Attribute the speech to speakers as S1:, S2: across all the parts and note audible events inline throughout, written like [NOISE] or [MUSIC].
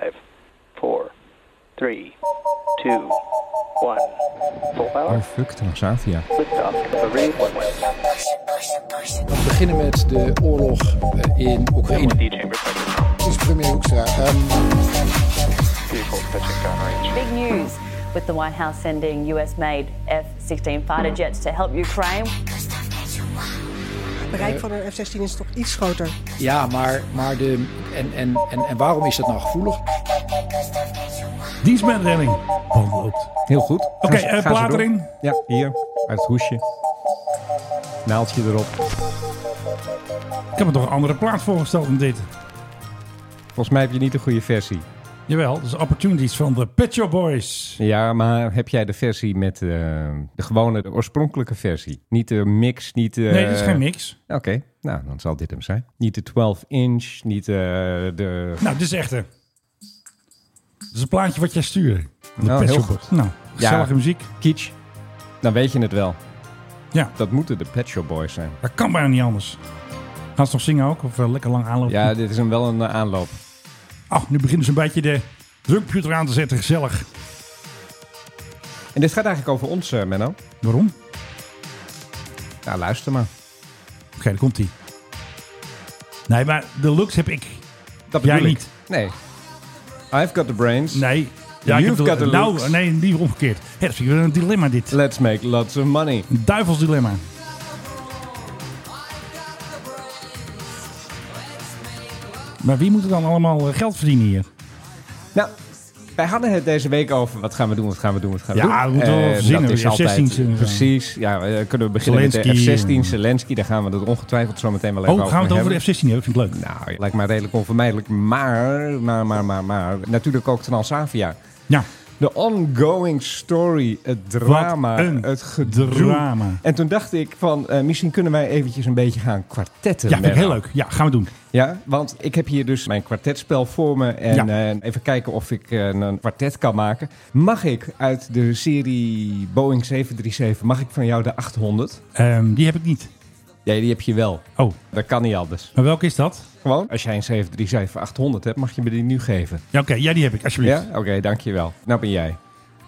S1: five, four, three, two, one. Full power.
S2: Oh fuck, Transavia.
S1: Liftoff. Marine one way.
S3: We beginnen met de oorlog eh, in Oekraïne.
S1: D chamber pressure.
S3: Dit is premier Hoekstra. Ehm,
S1: Vehicles touching down range.
S4: Big news with the White House sending US made F 16 fighter jets to help Ukraine.
S5: Het bereik van een F-16 is toch iets groter.
S3: ja, maar, maar de, en, en, en, en waarom is dat nou gevoelig?
S6: Dienstbaanremming. Band loopt.
S2: Heel goed. Oké,
S6: eh, plaat erin.
S2: Ja, hier. Uit het hoesje. Naaldje erop.
S6: Ik heb me toch een andere plaat voorgesteld dan dit.
S2: Volgens mij heb je niet de goede versie.
S6: Jawel, dat is Opportunities van de Pet Shop Boys.
S2: Ja, maar heb jij de versie met eh, de gewone, de oorspronkelijke versie? Niet de mix, niet... eh,
S6: Nee, dit is geen mix.
S2: Oké, nou, dan zal dit hem zijn. Niet de 12 inch, niet eh, de...
S6: Nou, dit is echt. hè. Dit is een plaatje wat jij stuurde. De
S2: Nou,
S6: Pet
S2: heel
S6: Shop Boys. Nou, gezellige muziek.
S2: Kitsch. Dan weet je het wel.
S6: Ja.
S2: Dat moeten de Pet Shop Boys zijn.
S6: Dat kan bijna niet anders. Gaan ze nog zingen ook? Of eh, lekker lang aanlopen?
S2: Ja, dit is hem wel een eh, aanloop.
S6: Ach, nu beginnen ze een beetje de drumcomputer aan te zetten. Gezellig.
S2: En dit gaat eigenlijk over ons, eh, Menno.
S6: Waarom? Oké,
S2: Nou, luister maar.
S6: daar komt ie. Nee, maar de looks heb ik.
S2: Dat
S6: Jij
S2: bedoel ik.
S6: niet.
S2: Nee. I've got the brains.
S6: Nee. Ja,
S2: You've
S6: ik
S2: got
S6: heb
S2: the looks.
S6: Nou, nee, liever omgekeerd. Hé, dat is weer een dilemma dit.
S2: Let's make lots of money.
S6: Een duivels dilemma. Maar wie moet er dan allemaal eh, geld verdienen hier?
S2: Nou, wij hadden het deze week over wat gaan we doen, wat gaan we doen, wat gaan we
S6: Ja,
S2: doen.
S6: we moeten wel
S2: Eh,
S6: verzinnen.
S2: dat is
S6: Ja,
S2: altijd-
S6: 16 zullen we gaan.
S2: Precies. Ja, eh, kunnen we beginnen
S6: Zelensky,
S2: met de F-16,
S6: eh.
S2: Zelensky. Daar gaan we het ongetwijfeld zo meteen wel even
S6: Oh, gaan we het over de F-16 hebben? Vind ik leuk.
S2: Nou, ja, lijkt mij redelijk onvermijdelijk. Maar, maar, maar, maar, maar. Natuurlijk ook Transavia.
S6: Ja,
S2: De ongoing story, het drama,
S6: Wat een
S2: het gedoe.
S6: drama.
S2: En toen dacht ik van, eh, misschien kunnen wij eventjes een beetje gaan kwartetten.
S6: Ja, vind ik
S2: Menno.
S6: heel leuk. Ja, gaan we doen.
S2: Ja, want ik heb hier dus mijn kwartetspel voor me. En eh, even kijken of ik eh, een kwartet kan maken. Mag ik uit de serie Boeing 737, mag ik van jou de 800?
S6: Ehm, die heb ik niet.
S2: Ja, die heb je wel.
S6: Oh,
S2: Dat kan niet anders.
S6: maar welke is dat?
S2: Gewoon, als jij een 737-800 hebt, mag je me die nu geven.
S6: Ja, oké. ja, die heb ik, alsjeblieft.
S2: Ja? Oké, dankjewel. Nou ben jij.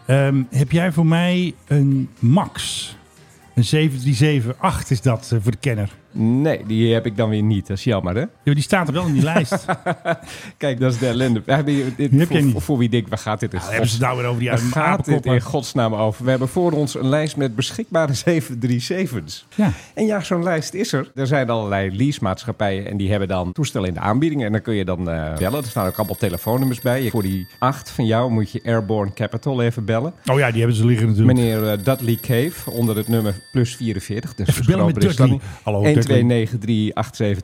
S6: Ehm, heb jij voor mij een Max? Een 7378 is dat eh, voor de kenner.
S2: Nee, die heb ik dan weer niet. Dat is jammer, hè?
S6: Ja, die staat er wel in
S2: [LAUGHS]
S6: die lijst. Daar
S2: Kijk, dat is de ellende. We hebben hier- dit-
S6: Die heb
S2: voor,
S6: jij niet.
S2: voor- voor wie dik, waar gaat dit in
S6: hebben ze het nou weer over die
S2: Waar gaat dit in
S6: apenkoppen.
S2: godsnaam over? We hebben voor ons een lijst met beschikbare [LAUGHS] 737's.
S6: Ja.
S2: En ja, zo'n lijst is er. Er zijn allerlei leasemaatschappijen en die hebben dan toestellen in de aanbieding. En dan kun je dan eh, bellen. Er staan ook allemaal telefoonnummers bij. Je- Voor die acht van jou moet je Airborne Capital even bellen.
S6: Oh ja, die hebben ze liggen natuurlijk.
S2: Meneer eh, Dudley Cave onder het nummer plus 44. Dus
S6: Even bellen met Dudley. Hallo, Dudley.
S2: 12938725.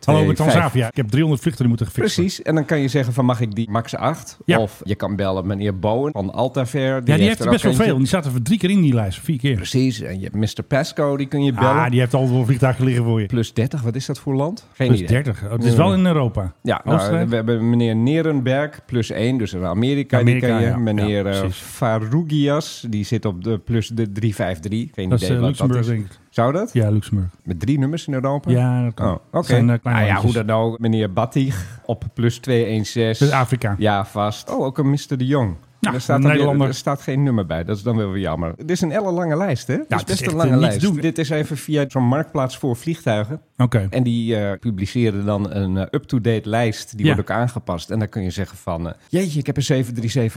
S6: Hallo, met Transavia. Ik heb 300 vluchten moeten gefixen.
S2: Precies, en dan kan je zeggen van mag ik die max 8?
S6: Ja.
S2: Of je kan bellen meneer Bowen van Altaver.
S6: Ja, die heeft er
S2: er
S6: best
S2: ook
S6: wel veel.
S2: eentje.
S6: Die staat er voor drie keer in die lijst. Vier keer.
S2: Precies, en je hebt Mr. Pasco, die kun je bellen.
S6: Ah, die heeft altijd wel vliegtuigen liggen voor je.
S2: Plus 30, wat is dat voor land? Geen
S6: Plus
S2: idee. Mm.
S6: 30. Oh, het is wel in Europa.
S2: Ja, nou,
S6: Oostenrijk.
S2: we hebben meneer Nerenberg, plus 1, dus in Amerika,
S6: Amerika,
S2: die ken je.
S6: ja. Ja,
S2: Meneer eh,
S6: precies.
S2: Farougias, die zit op de plus de 353. Geen
S6: dat is
S2: idee
S6: eh,
S2: wat
S6: Luxemburg,
S2: dat is.
S6: denk ik.
S2: Zou dat?
S6: Ja, Luxemburg.
S2: Met drie nummers in Europa?
S6: Ja, dat kan.
S2: Oh, oké.
S6: Dat zijn, eh, kleine
S2: nou ja, hoe
S6: landjes.
S2: dan ook. Meneer Battig op plus 216.
S6: Dat is Afrika.
S2: Ja, vast. Oh, ook een Mr. de Jong.
S6: Ja,
S2: er, staat
S6: een
S2: dan
S6: Nederlander.
S2: weer- er staat geen nummer bij. Dat is dan wel weer jammer. Het is een elle lange lijst, hè? het
S6: het
S2: is
S6: is
S2: best
S6: echt,
S2: een
S6: eh,
S2: lange
S6: niet te
S2: lijst.
S6: doen.
S2: Dit is even via zo'n marktplaats voor vliegtuigen.
S6: Oké.
S2: En die eh, publiceren dan een eh, up-to-date lijst. Die
S6: Ja.
S2: wordt ook aangepast. En dan kun je zeggen van... eh, jeetje, ik heb een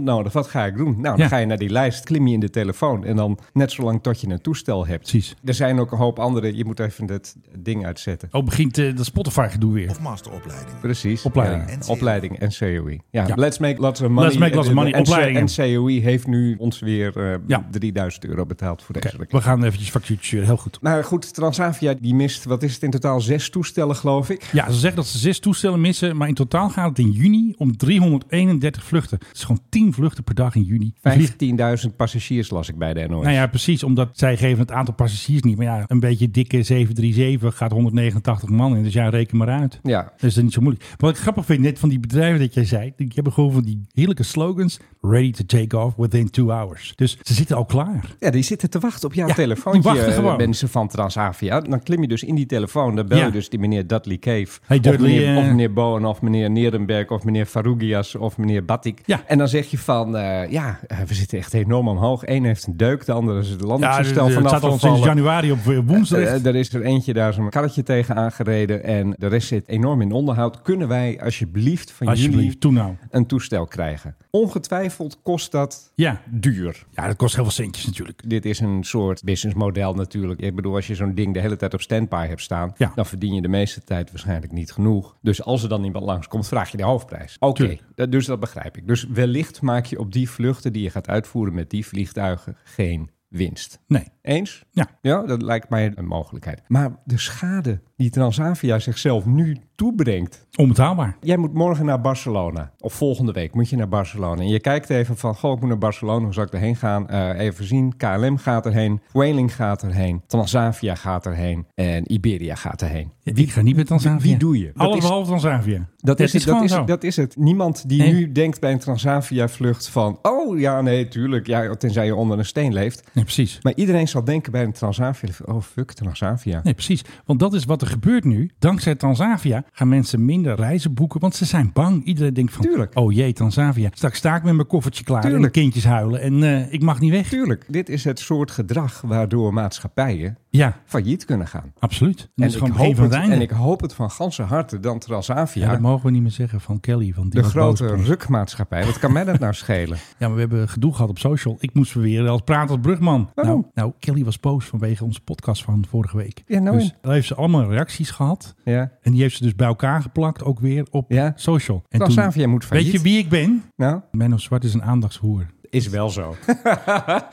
S2: 737-800 nodig. Wat ga ik doen? Nou, dan
S6: Ja.
S2: ga je naar die lijst. Klim je in de telefoon. En dan net zo lang tot je een toestel hebt.
S6: Precies.
S2: Er zijn ook een hoop andere... Je moet even dat ding uitzetten.
S6: Oh, begint eh, dat Spotify-gedoe weer.
S7: Of masteropleiding.
S2: Precies.
S6: Opleiding.
S2: Ja,
S7: NCOE.
S2: opleiding en COE. E. Ja,
S6: Ja.
S2: Let's Make Lots of Money.
S6: Let's Make Lots of Money,
S2: En- en- En
S6: opleidingen.
S2: COE E heeft nu ons weer eh,
S6: Ja.
S2: 3000 euro betaald voor deze
S6: Oké,
S2: reclame.
S6: we gaan eventjes factuurtjes sturen. Heel goed.
S2: Maar goed, Transavia die mist, wat is het in totaal, zes toestellen geloof ik.
S6: Ja, ze zeggen dat ze zes toestellen missen, maar in totaal gaat het in juni om 331 vluchten. Het is gewoon 10 vluchten per dag in juni. Ze vliegen-
S2: 15.000 passagiers las ik bij de E. NOS.
S6: Nou ja, precies, omdat zij geven het aantal passagiers niet. Maar ja, een beetje dikke 737 gaat 189 man in, dus ja, reken maar uit.
S2: Ja.
S6: Dat is dan niet zo moeilijk. Wat ik grappig vind, net van die bedrijven dat jij zei, die hebben gewoon van die heerlijke slogans. ready to take off within two hours. Dus ze zitten al klaar.
S2: Ja, die zitten te wachten op jouw
S6: Ja, die
S2: telefoontje,
S6: wachten
S2: eh,
S6: gewoon.
S2: mensen van Transavia. Dan klim je dus in die telefoon, dan bel je
S6: Ja.
S2: dus die meneer Dudley Cave.
S6: Hey,
S2: of,
S6: Dudley,
S2: meneer,
S6: eh.
S2: of meneer Bowen, of meneer Nierenberg, of meneer Farougias, of meneer Batik.
S6: Ja.
S2: En dan zeg je van, eh, ja, eh, we zitten echt enorm omhoog. Eén heeft een deuk, de andere is dus het
S6: het
S2: landingsgestel vanaf
S6: staat al sinds
S2: gevallen.
S6: januari op eh, woensdag.
S2: Eh, er is er eentje daar zo'n karretje tegen aangereden en de rest zit enorm in onderhoud. Kunnen wij alsjeblieft van jullie
S6: Alsjeblieft, toen nou.
S2: een toestel krijgen? Ongetwijfeld kost dat
S6: Ja.
S2: duur.
S6: ja, dat kost heel veel centjes natuurlijk.
S2: Dit is een soort businessmodel natuurlijk. Ik bedoel, als je zo'n ding de hele tijd op standby hebt staan,
S6: Ja.
S2: dan verdien je de meeste tijd waarschijnlijk niet genoeg. Dus als er dan iemand langskomt, vraag je de hoofdprijs. Oké,
S6: Tuurlijk.
S2: dat- dus dat begrijp ik. Dus wellicht maak je op die vluchten die je gaat uitvoeren met die vliegtuigen geen winst.
S6: Nee.
S2: Eens?
S6: Ja.
S2: Ja, dat lijkt mij een mogelijkheid. Maar de schade die Transavia zichzelf nu toebrengt.
S6: Onbetaalbaar.
S2: Jij moet morgen naar Barcelona. Of volgende week moet je naar Barcelona. En je kijkt even van, goh, ik moet naar Barcelona. Hoe zal ik erheen gaan? Eh, even zien. KLM gaat erheen. Whaling gaat erheen. Transavia gaat erheen. En Iberia gaat erheen.
S6: ik ga niet met Transavia.
S2: wie doe je? Dat
S6: Alles
S2: is-
S6: behalve Transavia.
S2: Dat is, het, dat,
S6: gewoon
S2: is,
S6: zo.
S2: het- dat is het. Niemand die
S6: Nee.
S2: nu denkt bij een Transavia-vlucht van... oh ja, nee, tuurlijk. Ja, tenzij je onder een steen leeft.
S6: Nee, precies.
S2: Maar iedereen zal denken bij een Transavia... oh, fuck, Transavia.
S6: Nee, precies. Want dat is wat er gebeurt nu. Dankzij Transavia gaan mensen minder reizen boeken, want ze zijn bang. Iedereen denkt van,
S2: Tuurlijk.
S6: oh jee, Transavia. Straks sta ik met mijn koffertje klaar en de
S2: Tuurlijk.
S6: kindjes huilen en eh, ik mag niet weg.
S2: Tuurlijk, dit is het soort gedrag waardoor maatschappijen
S6: Ja,
S2: failliet kunnen gaan.
S6: absoluut. En dat is gewoon
S2: ik
S6: het begin
S2: hoop
S6: van
S2: het,
S6: het einde.
S2: en ik hoop het van ganse harte dan Transavia,
S6: ja, dat mogen we niet meer zeggen van Kelly. Want die
S2: de
S6: was
S2: grote
S6: boos.
S2: rukmaatschappij. Wat kan mij dat nou
S6: [LAUGHS]
S2: schelen?
S6: Ja, maar we hebben gedoe gehad op social. Ik moest weer als praten als brugman.
S2: Waarom?
S6: Nou, nou, Kelly was boos vanwege onze podcast van vorige week.
S2: Ja, nou
S6: dus
S2: en?
S6: daar heeft ze allemaal reacties gehad.
S2: Ja.
S6: En die heeft ze dus bij elkaar geplakt, ook weer op
S2: Ja.
S6: social. En
S2: Transavia moet failliet.
S6: Weet je wie ik ben?
S2: Nou,
S6: Menno Zwart is een aandachtshoer.
S2: is wel zo.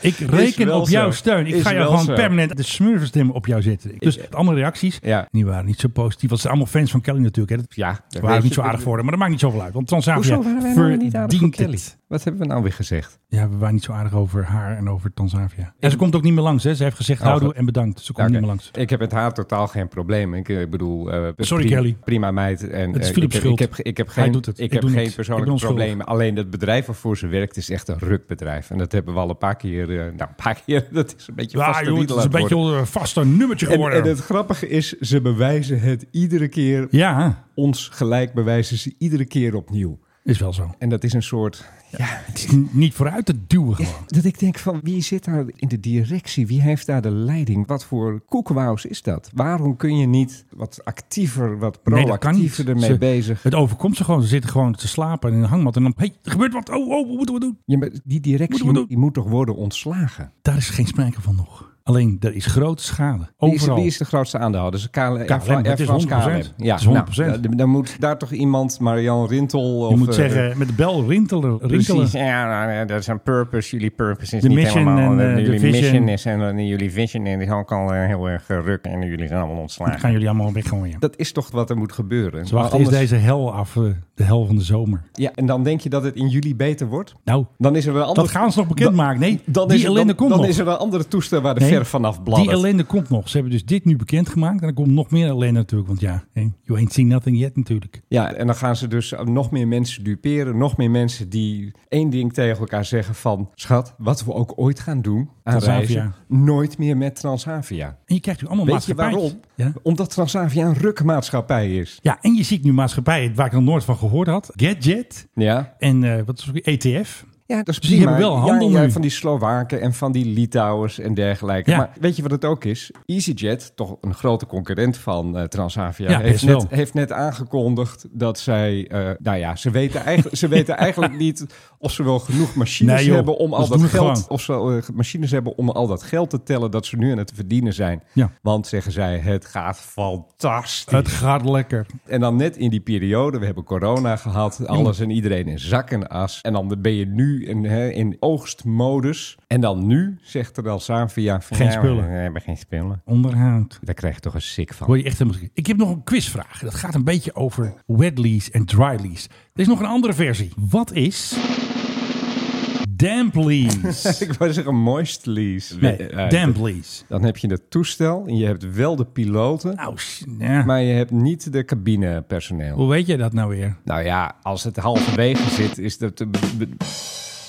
S6: Ik reken
S2: wel
S6: op jouw
S2: zo.
S6: steun. Ik
S2: Is
S6: ga jou
S2: wel
S6: gewoon
S2: zo.
S6: permanent de smurfenstem op jou zetten. Dus de andere reacties,
S2: Ja.
S6: die waren niet zo positief. Want ze zijn allemaal fans van Kelly natuurlijk. Hè.
S2: [LAUGHS]
S6: Dat
S2: Ja, dat
S6: ze
S2: weet
S6: waren ook
S2: je.
S6: niet zo aardig voor hem. Maar dat maakt niet zoveel uit. Want Transavia
S2: Hoezo waren wij nou niet aardig op
S6: verdient
S2: Kelly?
S6: het.
S2: Wat hebben we nou weer gezegd?
S6: Ja, we waren niet zo aardig over haar en over Tanzavia. En ze komt ook niet meer langs. Hè. Ze heeft gezegd houdoe
S2: Oh, goed.
S6: en bedankt. Ze komt
S2: Ja,
S6: niet
S2: oké.
S6: meer langs.
S2: Ik heb met haar totaal geen probleem. Ik, eh, bedoel, eh,
S6: Sorry,
S2: prima,
S6: Kelly.
S2: prima meid. En,
S6: Het is
S2: eh,
S6: Philips
S2: ik, heb-
S6: schuld.
S2: Ik heb, ik heb
S6: Hij
S2: geen,
S6: doet het.
S2: Ik
S6: Ik
S2: heb
S6: doe
S2: geen
S6: niks.
S2: persoonlijke
S6: Ik ben onschuldig.
S2: problemen. Alleen dat bedrijf waarvoor ze werkt is echt een rukbedrijf. En dat hebben we al een paar keer. eh, nou, een paar keer. [LAUGHS] Dat is een beetje
S6: Ja,
S2: vaste
S6: joh, het
S2: riedel
S6: is een
S2: aan het
S6: beetje
S2: worden.
S6: een vaste nummertje
S2: En,
S6: geworden.
S2: en het grappige is, ze bewijzen het iedere keer.
S6: Ja,
S2: Ons gelijk bewijzen ze iedere keer opnieuw.
S6: is wel zo.
S2: En dat is een soort... Ja,
S6: Het is n- niet vooruit te
S2: [LAUGHS]
S6: duwen gewoon.
S2: dat ik denk van, wie zit daar in de directie? Wie heeft daar de leiding? Wat voor koekwous is dat? Waarom kun je niet wat actiever, wat
S6: Nee, dat kan niet.
S2: proactiever ermee
S6: Ze-
S2: bezig?
S6: Het overkomt ze gewoon. Ze zitten gewoon te slapen in de hangmat. En dan, hey, er gebeurt wat. Oh, oh, wat moeten we doen?
S2: Ja, maar die directie
S6: Moeten we doen.
S2: die moet toch worden ontslagen?
S6: Daar is geen sprake van nog. Alleen, er is grote schade.
S2: Wie is,
S6: Overal.
S2: wie is de grootste aandeelhouder? Dus KLM,
S6: KLM,
S2: Air
S6: het is
S2: France
S6: 100%.
S2: KLM. Ja,
S6: Het is 100%.
S2: nou, dan- dan moet daar toch iemand, Marian Rintel...
S6: je
S2: of,
S6: moet
S2: eh,
S6: zeggen, met de bel rinkelen. rinkelen.
S2: Precies, ja, nou, ja, dat is een purpose. Jullie purpose is
S6: De
S2: niet
S6: mission
S2: helemaal...
S6: en,
S2: eh,
S6: eh, de
S2: jullie
S6: vision.
S2: mission is en eh, jullie vision en die is ook al eh, heel erg geruk en jullie zijn allemaal
S6: Dan
S2: ontslagen.
S6: gaan jullie allemaal weggooien.
S2: Dat is toch wat er moet gebeuren.
S6: Ze wachten
S2: Maar
S6: eerst
S2: anders-
S6: deze hel af. eh, De hel van de zomer.
S2: Ja, en dan denk je dat het in juli beter wordt?
S6: Nou,
S2: Dan is er een ander...
S6: dat gaan ze nog bekendmaken. Nee,
S2: Dan
S6: die
S2: is er,
S6: ellende
S2: dan,
S6: komt
S2: dan
S6: nog.
S2: is er een andere toestel waar de
S6: Nee,
S2: verf vanaf bladdert.
S6: Die ellende komt nog. Ze hebben dus dit nu bekendgemaakt. En er komt nog meer ellende natuurlijk. Want ja, hey, you ain't seen nothing yet natuurlijk.
S2: Ja, en dan gaan ze dus nog meer mensen duperen. Nog meer mensen die één ding tegen elkaar zeggen van... Schat, wat we ook ooit gaan doen aan
S6: Transavia.
S2: reizen... nooit meer met Transavia.
S6: En je krijgt nu allemaal
S2: Weet je
S6: maatschappijtjes.
S2: waarom?
S6: Ja?
S2: Omdat Transavia een rukmaatschappij is.
S6: ja, en je ziet nu maatschappijen waar ik nog nooit van gehoord had. Gadget
S2: Ja,
S6: en eh, wat is het ook weer? ETF.
S2: ja dat is
S6: Dus die
S2: prima.
S6: hebben wel
S2: Ja,
S6: handel
S2: ja,
S6: nu.
S2: van die Slowaken en van die Litouwers en dergelijke.
S6: Ja.
S2: Maar weet je wat het ook is? EasyJet, toch een grote concurrent van eh, Transavia...
S6: Ja,
S2: heeft,
S6: best wel.
S2: net, heeft net aangekondigd dat zij... eh, nou ja, ze weten, eigenlijk, ze
S6: [LAUGHS]
S2: weten eigenlijk niet of ze wel genoeg machines
S6: Nee, joh.
S2: hebben... om al
S6: Dus
S2: dat
S6: doe het
S2: geld...
S6: gewoon.
S2: of ze eh, machines hebben om al dat geld te tellen... dat ze nu aan het verdienen zijn.
S6: Ja.
S2: Want, zeggen zij, het gaat fantastisch.
S6: Het gaat lekker.
S2: En dan net in die periode, we hebben corona gehad, alles en iedereen in zak en as. En dan ben je nu in, hè, in oogstmodus. En dan nu zegt er al Savia...
S6: Geen spullen.
S2: We hebben geen spullen.
S6: Onderhoud.
S2: Daar krijg je toch een sick van.
S6: Word je echt helemaal gek. Ik heb nog een quizvraag. Dat gaat een beetje over wet lease en dry lease. Er is nog een andere versie. Wat is damp
S2: [LAUGHS]
S6: lease?
S2: Ik wou zeggen moist lease.
S6: Nee,
S2: Eh, eh,
S6: damp lease.
S2: Dan heb je het toestel en je hebt wel de piloten...
S6: Nou, s- ja.
S2: Maar je hebt niet de cabinepersoneel.
S6: hoe weet jij dat nou weer?
S2: Nou ja, als het halverwege zit, is dat... de- eh, be- be-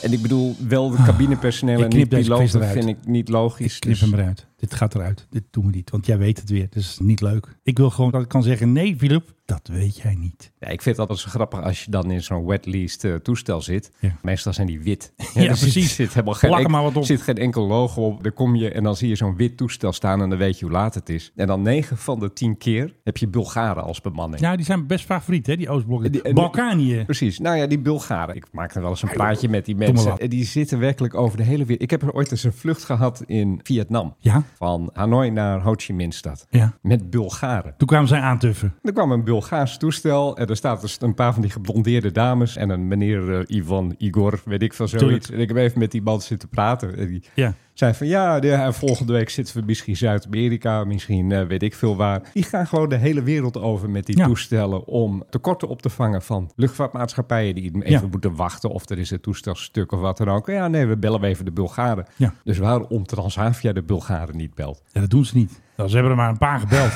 S2: En ik bedoel, wel de cabinepersoneel
S6: Ik
S2: en
S6: knip
S2: niet
S6: Ah, deze quiz
S2: piloten
S6: eruit.
S2: vind ik niet logisch.
S6: Ik knip
S2: dus-
S6: hem eruit. Dit gaat eruit. Dit doen we niet. Want jij weet het weer. Dus het is niet leuk. Ik wil gewoon dat ik kan zeggen: nee, Philip, dat weet jij niet.
S2: Ja, ik vind het altijd zo grappig als je dan in zo'n wet leased eh, toestel zit.
S6: Ja.
S2: Meestal zijn die wit. [LAUGHS]
S6: Ja,
S2: er zit-
S6: precies.
S2: Zit helemaal geen
S6: Plak er
S2: enkel-
S6: maar wat op.
S2: zit geen enkel logo op. Dan kom je en dan zie je zo'n wit toestel staan en dan weet je hoe laat het is. En dan 9 van de 10 keer heb je Bulgaren als bemanning.
S6: Nou, die zijn best favoriet, hè, die
S2: Die-
S6: Oostblokken.
S2: en-
S6: Balkanië.
S2: Precies. Nou ja, die Bulgaren. Ik maak er wel eens een plaatje met die
S6: maar
S2: mensen.
S6: wat.
S2: En Die zitten werkelijk over de hele wereld. Ik heb er ooit eens een vlucht gehad in Vietnam.
S6: Ja.
S2: Van Hanoi naar Ho Chi Minh stad.
S6: Ja.
S2: Met Bulgaren.
S6: Toen kwamen zij aantuffen.
S2: Er kwam een Bulgaars toestel en er staat dus een paar van die geblondeerde dames en een meneer eh, Ivan Igor, weet ik van
S6: Tuurlijk.
S2: zoiets. En ik heb even met die man zitten praten. En die
S6: Ja.
S2: zei van ja, de, eh, volgende week zitten we misschien Zuid-Amerika, misschien eh, weet ik veel waar. Die gaan gewoon de hele wereld over met die
S6: Ja.
S2: toestellen om tekorten op te vangen van luchtvaartmaatschappijen die even
S6: Ja.
S2: moeten wachten of er is een toestel stuk of wat dan ook. Ja, nee, we bellen even de Bulgaren.
S6: Ja.
S2: Dus waarom Transavia de Bulgaren niet belt?
S6: ja, dat doen ze niet. Nou, ze hebben er maar een paar gebeld.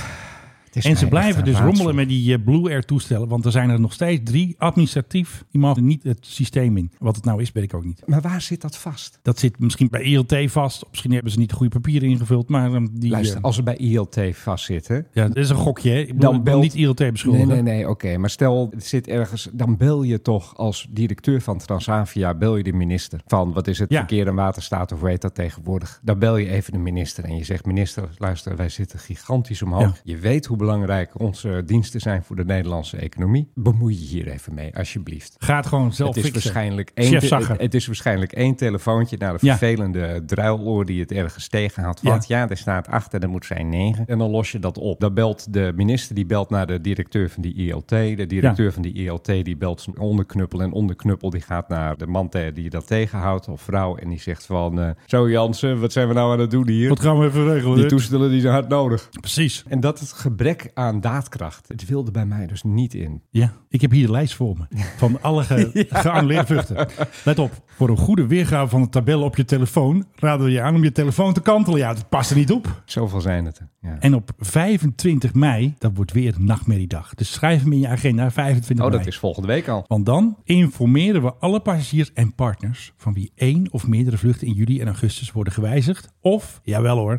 S2: Het is
S6: En ze
S2: mij echt
S6: blijven dus
S2: een
S6: rommelen met die eh, Blue Air toestellen. Want er zijn er nog steeds drie administratief. Die mogen niet het systeem in. Wat het nou is, weet ik ook niet.
S2: Maar waar zit dat vast?
S6: Dat zit misschien bij ELT vast. Misschien hebben ze niet de goede papieren ingevuld. Maar ehm, die...
S2: Luister,
S6: eh,
S2: als ze bij ILT vastzitten.
S6: ja, dat is een gokje, hè? Ik bedoel, ik wil
S2: belt-
S6: niet ILT
S2: Nee,
S6: beschuldigen.
S2: nee, nee, oké. Maar stel, het zit ergens. Dan bel je toch als directeur van Transavia. Bel je de minister van wat is het
S6: Ja.
S2: verkeer en waterstaat of hoe heet dat tegenwoordig? Dan bel je even de minister en je zegt: Minister, luister, wij zitten gigantisch omhoog.
S6: Ja.
S2: Je weet hoe belangrijk onze diensten zijn voor de Nederlandse economie. Bemoei je hier even mee, alsjeblieft.
S6: Ga het gewoon zelf
S2: Het is,
S6: fixen.
S2: waarschijnlijk één
S6: Chef
S2: te-
S6: Zacher.
S2: het, het is waarschijnlijk één telefoontje naar de
S6: Ja.
S2: vervelende druiloor die het ergens tegen had.
S6: Ja.
S2: Want ja, er staat acht en er moet zijn negen. En dan los je dat op. Dan belt de minister, die belt naar de directeur van die ILT. De directeur
S6: Ja.
S2: van die ILT, die belt zijn onderknuppel. En onderknuppel, die gaat naar de man te- die dat tegenhoudt, of vrouw. En die zegt van, eh, zo Jansen, wat zijn we nou aan het doen hier?
S6: Wat gaan we even regelen?
S2: die
S6: hè?
S2: toestellen die zijn hard nodig.
S6: Precies.
S2: En dat het gebrek aan daadkracht, het wilde bij mij dus niet in.
S6: Ja, ik heb hier de lijst voor me van alle
S2: [LAUGHS]
S6: ge geannuleerde vluchten. Let op, voor een goede weergave van de tabel op je telefoon raden we je aan om je telefoon te kantelen. Ja, dat past er niet op.
S2: Zoveel zijn het er. Ja.
S6: En op 25 mei, dat wordt weer een nachtmerriedag. Dus schrijf hem in je agenda, 25
S2: Oh,
S6: mei.
S2: dat is volgende week al.
S6: Want dan informeren we alle passagiers en partners van wie één of meerdere vluchten in juli en augustus worden gewijzigd. Of, jawel hoor,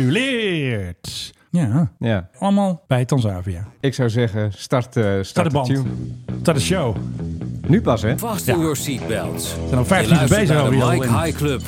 S6: geannuleerd. Ja,
S2: Ja.
S6: allemaal bij Tanzavia.
S2: Ik zou zeggen, start, eh, start,
S6: Start de
S2: de
S6: band.
S2: tune.
S6: Start de show.
S2: Nu pas, hè?
S7: Fasten your seatbelts.
S6: zijn al 15
S7: Je luistert
S6: bezig
S7: naar de
S6: alweer.
S7: Mike High Club.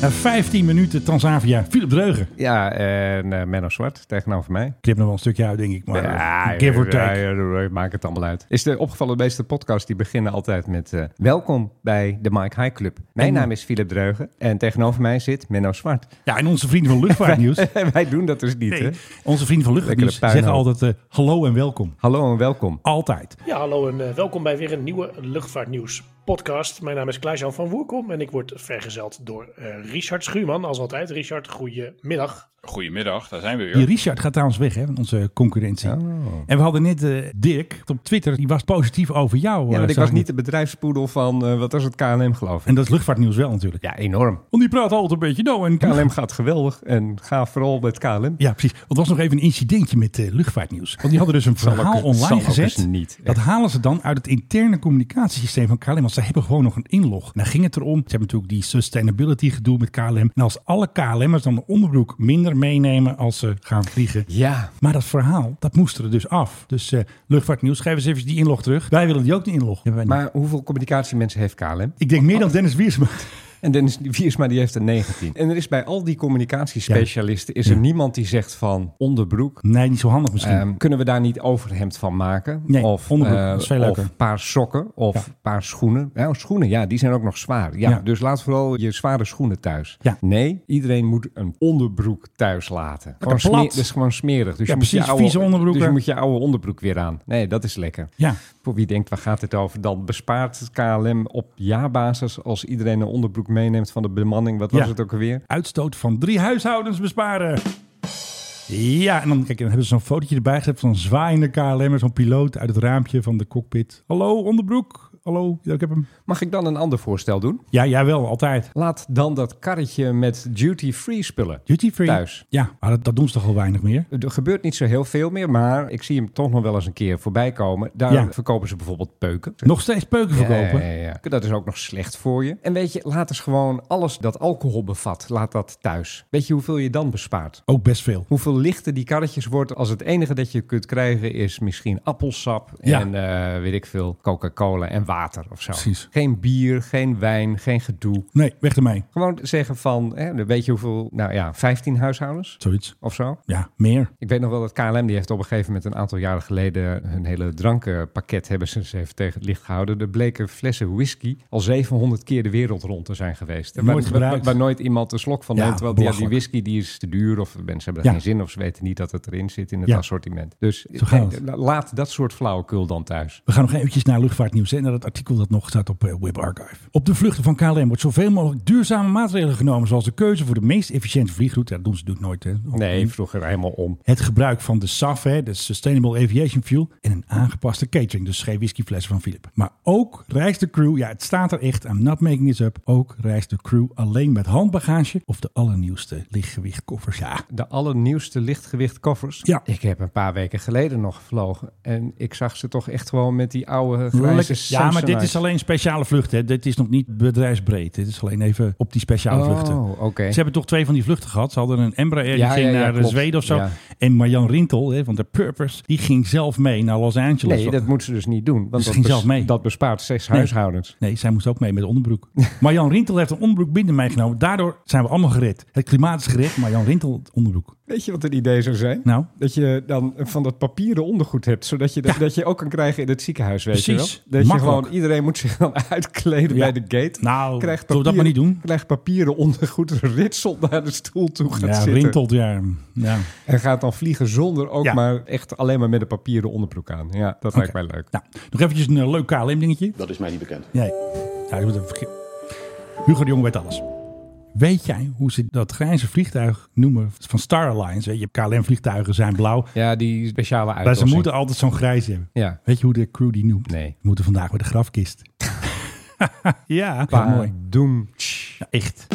S6: Na 15 Eh, minuten Transavia. Philip Dreugen.
S2: Ja, en eh Menno Zwart tegenover mij.
S6: Knip nog wel een stukje uit, denk ik. Maar
S2: Ja,
S6: eh, give or
S2: ja,
S6: take.
S2: ja, ja, ja, maakt het allemaal uit. Is de opgevallen de meeste podcasts die beginnen altijd met eh, welkom bij de Mike High Club. Mijn naam is Philip Dreugen en tegenover mij zit Menno Zwart. [LAUGHS]
S6: Ja, en onze vrienden van Luchtvaartnieuws.
S2: En wij doen dat dus niet, hè?
S6: Nee, onze vrienden van Luchtvaartnieuws
S2: Lekkere puinhoop.
S6: zeggen altijd eh, hallo en welkom.
S2: Hallo en welkom.
S6: Altijd.
S8: Ja, hallo en eh, welkom bij weer een nieuwe Luchtvaartnieuws podcast. Mijn naam is Klaas-Jan van Woerkom en ik word vergezeld door eh, Richard Schuurman. Als altijd, Richard, goedemiddag.
S9: Goedemiddag, daar zijn we weer.
S6: Die Richard gaat trouwens weg, hè, van onze concurrentie.
S2: Oh.
S6: En we hadden net eh, Dirk op Twitter, die was positief over jou.
S2: Ja,
S6: eh,
S2: want ik
S6: zag
S2: was niet de bedrijfspoedel van, eh, wat was het, KLM geloof ik.
S6: En dat is luchtvaartnieuws wel natuurlijk.
S2: Ja, enorm.
S6: Want die praat altijd een beetje nou en
S2: KLM gaat geweldig en ga vooral met KLM.
S6: Ja, precies. Want er was nog even een incidentje met eh, luchtvaartnieuws. Want die hadden dus een
S2: Zal ook-
S6: verhaal
S2: zal
S6: online
S2: ook eens
S6: gezet.
S2: niet, echt.
S6: dat halen ze dan uit het interne communicatiesysteem van KLM. Want ze hebben gewoon nog een inlog. En daar ging het erom. Ze hebben natuurlijk die sustainability gedoe met KLM. En als alle KLM'ers dan de onderbroek minder meenemen als ze gaan vliegen.
S2: Ja,
S6: Maar dat verhaal, dat moest er dus af. Dus eh, luchtvaartnieuws, geef eens even die inlog terug. Wij willen die ook die inlog. Hebben wij niet.
S2: maar hoeveel communicatiemensen heeft KLM?
S6: ik denk meer dan Dennis Wiersma.
S2: En Dennis Wiersma die heeft een 19. En er is bij al die communicatiespecialisten... is er niemand die zegt van onderbroek...
S6: Nee, niet zo handig misschien.
S2: ehm, kunnen we daar niet overhemd van maken?
S6: Nee,
S2: of,
S6: onderbroek,
S2: eh,
S6: dat is veel leuker.
S2: Of paar sokken, of
S6: Ja.
S2: paar schoenen. Ja, oh, schoenen, ja, die zijn ook nog zwaar. Ja,
S6: Ja.
S2: Dus laat vooral je zware schoenen thuis.
S6: Ja.
S2: Nee, iedereen moet een onderbroek thuis laten. Gewoon
S6: plat.
S2: smeer- dat is gewoon smerig. Dus
S6: Ja,
S2: je moet je
S6: precies,
S2: oude,
S6: vieze onderbroeken.
S2: Dus je moet je oude onderbroek weer aan. Nee, dat is lekker.
S6: ja.
S2: Voor wie denkt, waar gaat dit over? Dan bespaart KLM op jaarbasis als iedereen een onderbroek meeneemt van de bemanning. Wat was
S6: Ja.
S2: het ook alweer?
S6: uitstoot van drie huishoudens besparen. Ja, en dan, kijk, dan hebben ze zo'n fotootje erbij gezet van een zwaaiende KLM, zo'n piloot uit het raampje van de cockpit. Hallo, onderbroek. hallo, ik heb hem.
S2: Mag ik dan een ander voorstel doen?
S6: Ja, jij wel, altijd.
S2: Laat dan dat karretje met duty-free spullen.
S6: Duty free.
S2: Thuis.
S6: Ja, maar dat, dat doen ze toch al weinig meer?
S2: Er gebeurt niet zo heel veel meer, maar ik zie hem toch nog wel eens een keer voorbij komen. Daar
S6: Ja.
S2: verkopen ze bijvoorbeeld peuken.
S6: Nog steeds peuken verkopen?
S2: Ja, ja, ja. Dat is ook nog slecht voor je. En weet je, laat eens gewoon alles dat alcohol bevat, laat dat thuis. Weet je hoeveel je dan bespaart?
S6: Ook best veel.
S2: Hoeveel lichter die karretjes wordt als het enige dat je kunt krijgen is misschien appelsap
S6: Ja.
S2: en eh, weet ik veel, Coca-Cola en water of zo.
S6: Precies.
S2: Geen bier, geen wijn, geen gedoe.
S6: Nee, weg ermee.
S2: Gewoon zeggen van, hè, weet je hoeveel, nou ja, 15 huishoudens
S6: Zoiets.
S2: of zo.
S6: Ja, meer.
S2: Ik weet nog wel dat KLM die heeft op een gegeven moment een aantal jaren geleden een hele drankenpakket hebben ze eens even tegen het licht gehouden. Er bleken flessen whisky al 700 keer de wereld rond te zijn geweest. En
S6: Nooit
S2: waar, waar,
S6: gebruikt.
S2: waar nooit iemand een slok van
S6: Ja,
S2: neemt. Terwijl die- ja, die
S6: belachelijk.
S2: whisky die is te duur of mensen hebben er
S6: Ja.
S2: geen zin of ze weten niet dat het erin zit in het
S6: Ja.
S2: assortiment. Dus
S6: gaat
S2: eh, laat dat soort flauwekul dan thuis.
S6: We gaan nog eventjes naar luchtvaartnieuws en naar het artikel dat nog staat op eh, Web Archive. Op de vluchten van KLM wordt zoveel mogelijk duurzame maatregelen genomen, zoals de keuze voor de meest efficiënte vliegroute. Ja, dat doen ze natuurlijk nooit. Hè?
S2: Nee, vroeger helemaal om.
S6: Het gebruik van de SAF, hè, de Sustainable Aviation Fuel, en een aangepaste catering, dus geen whiskyflessen van Philip. Maar ook reist de crew, ja het staat er echt, I'm not making this up, ook reist de crew alleen met handbagage of de allernieuwste lichtgewichtkoffers. Ja,
S2: De allernieuwste lichtgewicht koffers.
S6: Ja.
S2: Ik heb een paar weken geleden nog gevlogen. En ik zag ze toch echt gewoon met die oude grijze
S6: Ja, maar dit
S2: Samsonite.
S6: is alleen speciale vluchten. Hè. Dit is nog niet bedrijfsbreed. Dit is alleen even op die speciale vluchten.
S2: Oh, oké.
S6: Ze hebben toch twee van die vluchten gehad. Ze hadden een Embraer, die
S2: Ja,
S6: ging
S2: ja, ja,
S6: naar eh,
S2: klopt.
S6: Zweden of zo.
S2: Ja.
S6: En Marjan Rintel hè, van de Purpose, die ging zelf mee naar Los Angeles.
S2: Nee, dat moeten ze dus niet doen. Want
S6: Ze
S2: dat,
S6: ging zelf mee.
S2: dat bespaart zes
S6: Nee.
S2: huishoudens.
S6: Nee, zij moest ook mee met de onderbroek. [LAUGHS] Marjan Rintel heeft een onderbroek binnen meegenomen. Daardoor zijn we allemaal gered. Het klimaat is gered, Marjan Rintel het onderbroek.
S2: Weet je wat het idee zou zijn?
S6: Nou,
S2: Dat je dan van dat papieren ondergoed hebt, zodat je dat, dat je ook kan krijgen in het ziekenhuis, weet
S6: Precies.
S2: je wel? Dat
S6: Makkelijk.
S2: je gewoon, iedereen moet zich dan [LAUGHS] uitkleden bij
S6: Ja.
S2: de gate.
S6: Nou,
S2: krijgt
S6: zullen we dat maar niet doen?
S2: Krijgt papieren ondergoed, ritselt naar de stoel toe, gaat
S6: ja,
S2: zitten.
S6: Rintelt, ja. ja.
S2: En gaat dan vliegen zonder ook
S6: Ja.
S2: maar echt alleen maar met een papieren onderbroek aan. Ja, dat lijkt mij leuk.
S6: Nou, nog eventjes een eh, leuk KLM-dingetje.
S7: Dat is mij niet bekend.
S6: Nee. Ja, ik moet even verge- Hugo de Jong weet alles. Weet jij hoe ze dat grijze vliegtuig noemen van Star Alliance? Weet Je KLM-vliegtuigen zijn blauw.
S2: Ja, die speciale
S6: Maar ze
S2: uitdossing.
S6: moeten altijd zo'n grijs hebben.
S2: Ja.
S6: Weet je hoe de crew die noemt?
S2: Nee.
S6: We moeten vandaag bij de
S2: [LAUGHS]
S6: grafkist. ja, mooi.
S2: doen.
S6: Ja, Nou, echt.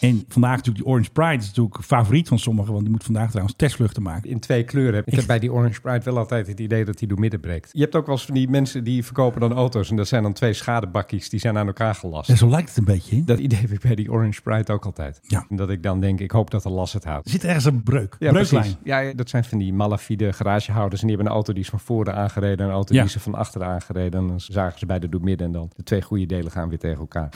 S6: En vandaag natuurlijk die Orange Pride is natuurlijk favoriet van sommigen. Want die moet vandaag trouwens testvluchten maken.
S2: in twee kleuren heb. Ik
S6: [LAUGHS]
S2: heb bij die Orange Pride wel altijd het idee dat die door midden breekt. Je hebt ook wel eens van die mensen die verkopen dan auto's. En dat zijn dan twee schadebakjes. Die zijn aan elkaar gelast.
S6: Ja, zo lijkt het een beetje. hè?
S2: Dat idee heb ik bij die Orange Pride ook altijd.
S6: Ja.
S2: Dat ik dan denk, ik hoop dat de las het houdt.
S6: Er zit ergens een breuk.
S2: Ja,
S6: breuklijn.
S2: precies. Ja, ja, dat zijn van die malafide garagehouders. En die hebben een auto die is van voren aangereden. en Een auto
S6: Ja.
S2: die is van achteren aangereden. En dan zagen ze beide door midden. En dan de twee goede delen gaan weer tegen elkaar.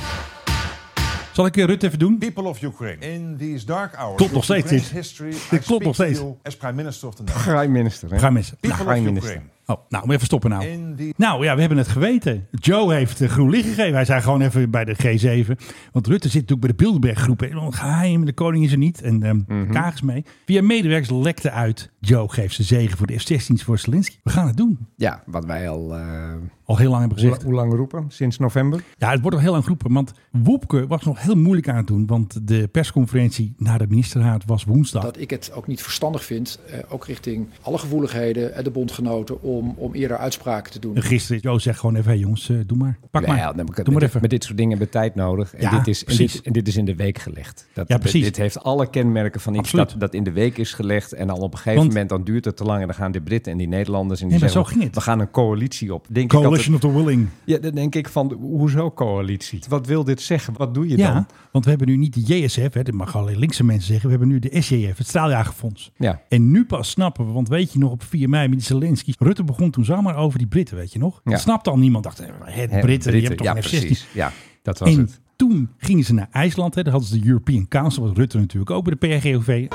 S6: Zal ik eh, Rutte even doen?
S9: People of Ukraine, in these dark hours
S6: Klopt nog
S9: of
S6: steeds
S9: Ukraine's
S6: dit.
S9: history,
S6: Dit
S9: I
S6: klopt
S9: speak
S6: nog steeds.
S9: to you as prime minister of the Netherlands.
S2: Prime minister. Hè?
S6: Gaan mensen.
S9: People
S2: prime
S9: of
S2: minister.
S9: Ukraine,
S6: Oh, nou, moet even stoppen nou.
S9: in the
S6: Nou ja, we hebben het geweten. Joe heeft eh, groen licht gegeven. Wij zijn gewoon even bij de G7. Want Rutte zit natuurlijk bij de Bilderberggroep. hè. Geheim, de koning is er niet. En ehm
S2: Mhm.
S6: Kaag is mee. Via medewerkers lekte uit. Joe geeft zijn zegen voor de F-16's voor Zelensky. We gaan het doen.
S2: Ja, wat wij al... eh,
S6: Al heel lang hebben
S2: hoe,
S6: gezegd.
S2: hoe lang roepen? Sinds november?
S6: Ja, het wordt al heel lang groepen. Want Woepke was nog heel moeilijk aan het doen. Want de persconferentie na de ministerraad was woensdag.
S10: dat ik het ook niet verstandig vind, eh, ook richting alle gevoeligheden en de bondgenoten, om, om eerder uitspraken te doen.
S6: En gisteren, Joe zegt gewoon even, hey jongens, eh, doe maar. Pak
S2: Nou
S6: maar.
S2: ja, dan moet ik-
S6: doe maar
S2: met,
S6: even.
S2: met dit soort dingen hebben we tijd nodig. En,
S6: Ja,
S2: dit is, en,
S6: precies.
S2: dit, en dit is in de week gelegd. Dat,
S6: Ja, precies.
S2: Dit heeft alle kenmerken van iets
S6: Absoluut.
S2: dat, dat in de week is gelegd. En dan op een gegeven
S6: Want-
S2: moment dan duurt het te lang. En dan gaan de Britten en die Nederlanders. En die
S6: Nee, maar
S2: zeggen,
S6: zo ging het.
S2: We gaan een coalitie op. Denk
S6: Coalition
S2: Ik
S6: of the willing.
S2: altijd, ja, dan denk ik van, hoezo coalitie? Wat wil dit zeggen? Wat doe je dan?
S6: Ja, want we hebben nu niet de JSF, hè, dat mag alleen linkse mensen zeggen. We hebben nu de SJF, het Straaljagerfonds.
S2: Ja.
S6: En nu pas snappen we, want weet je nog, op 4 mei met die Zelensky. Rutte begon toen zomaar over die Britten, weet je nog?
S2: Ja.
S6: Dat snapte al niemand. Dacht, hè, het Britten,
S2: Hè,
S6: die hebben toch
S2: ja,
S6: een
S2: precies.
S6: F-16.
S2: Ja, dat was
S6: En
S2: het.
S6: toen gingen ze naar IJsland. Hè. Daar hadden ze de European Council, was Rutte natuurlijk ook bij de PRGOV.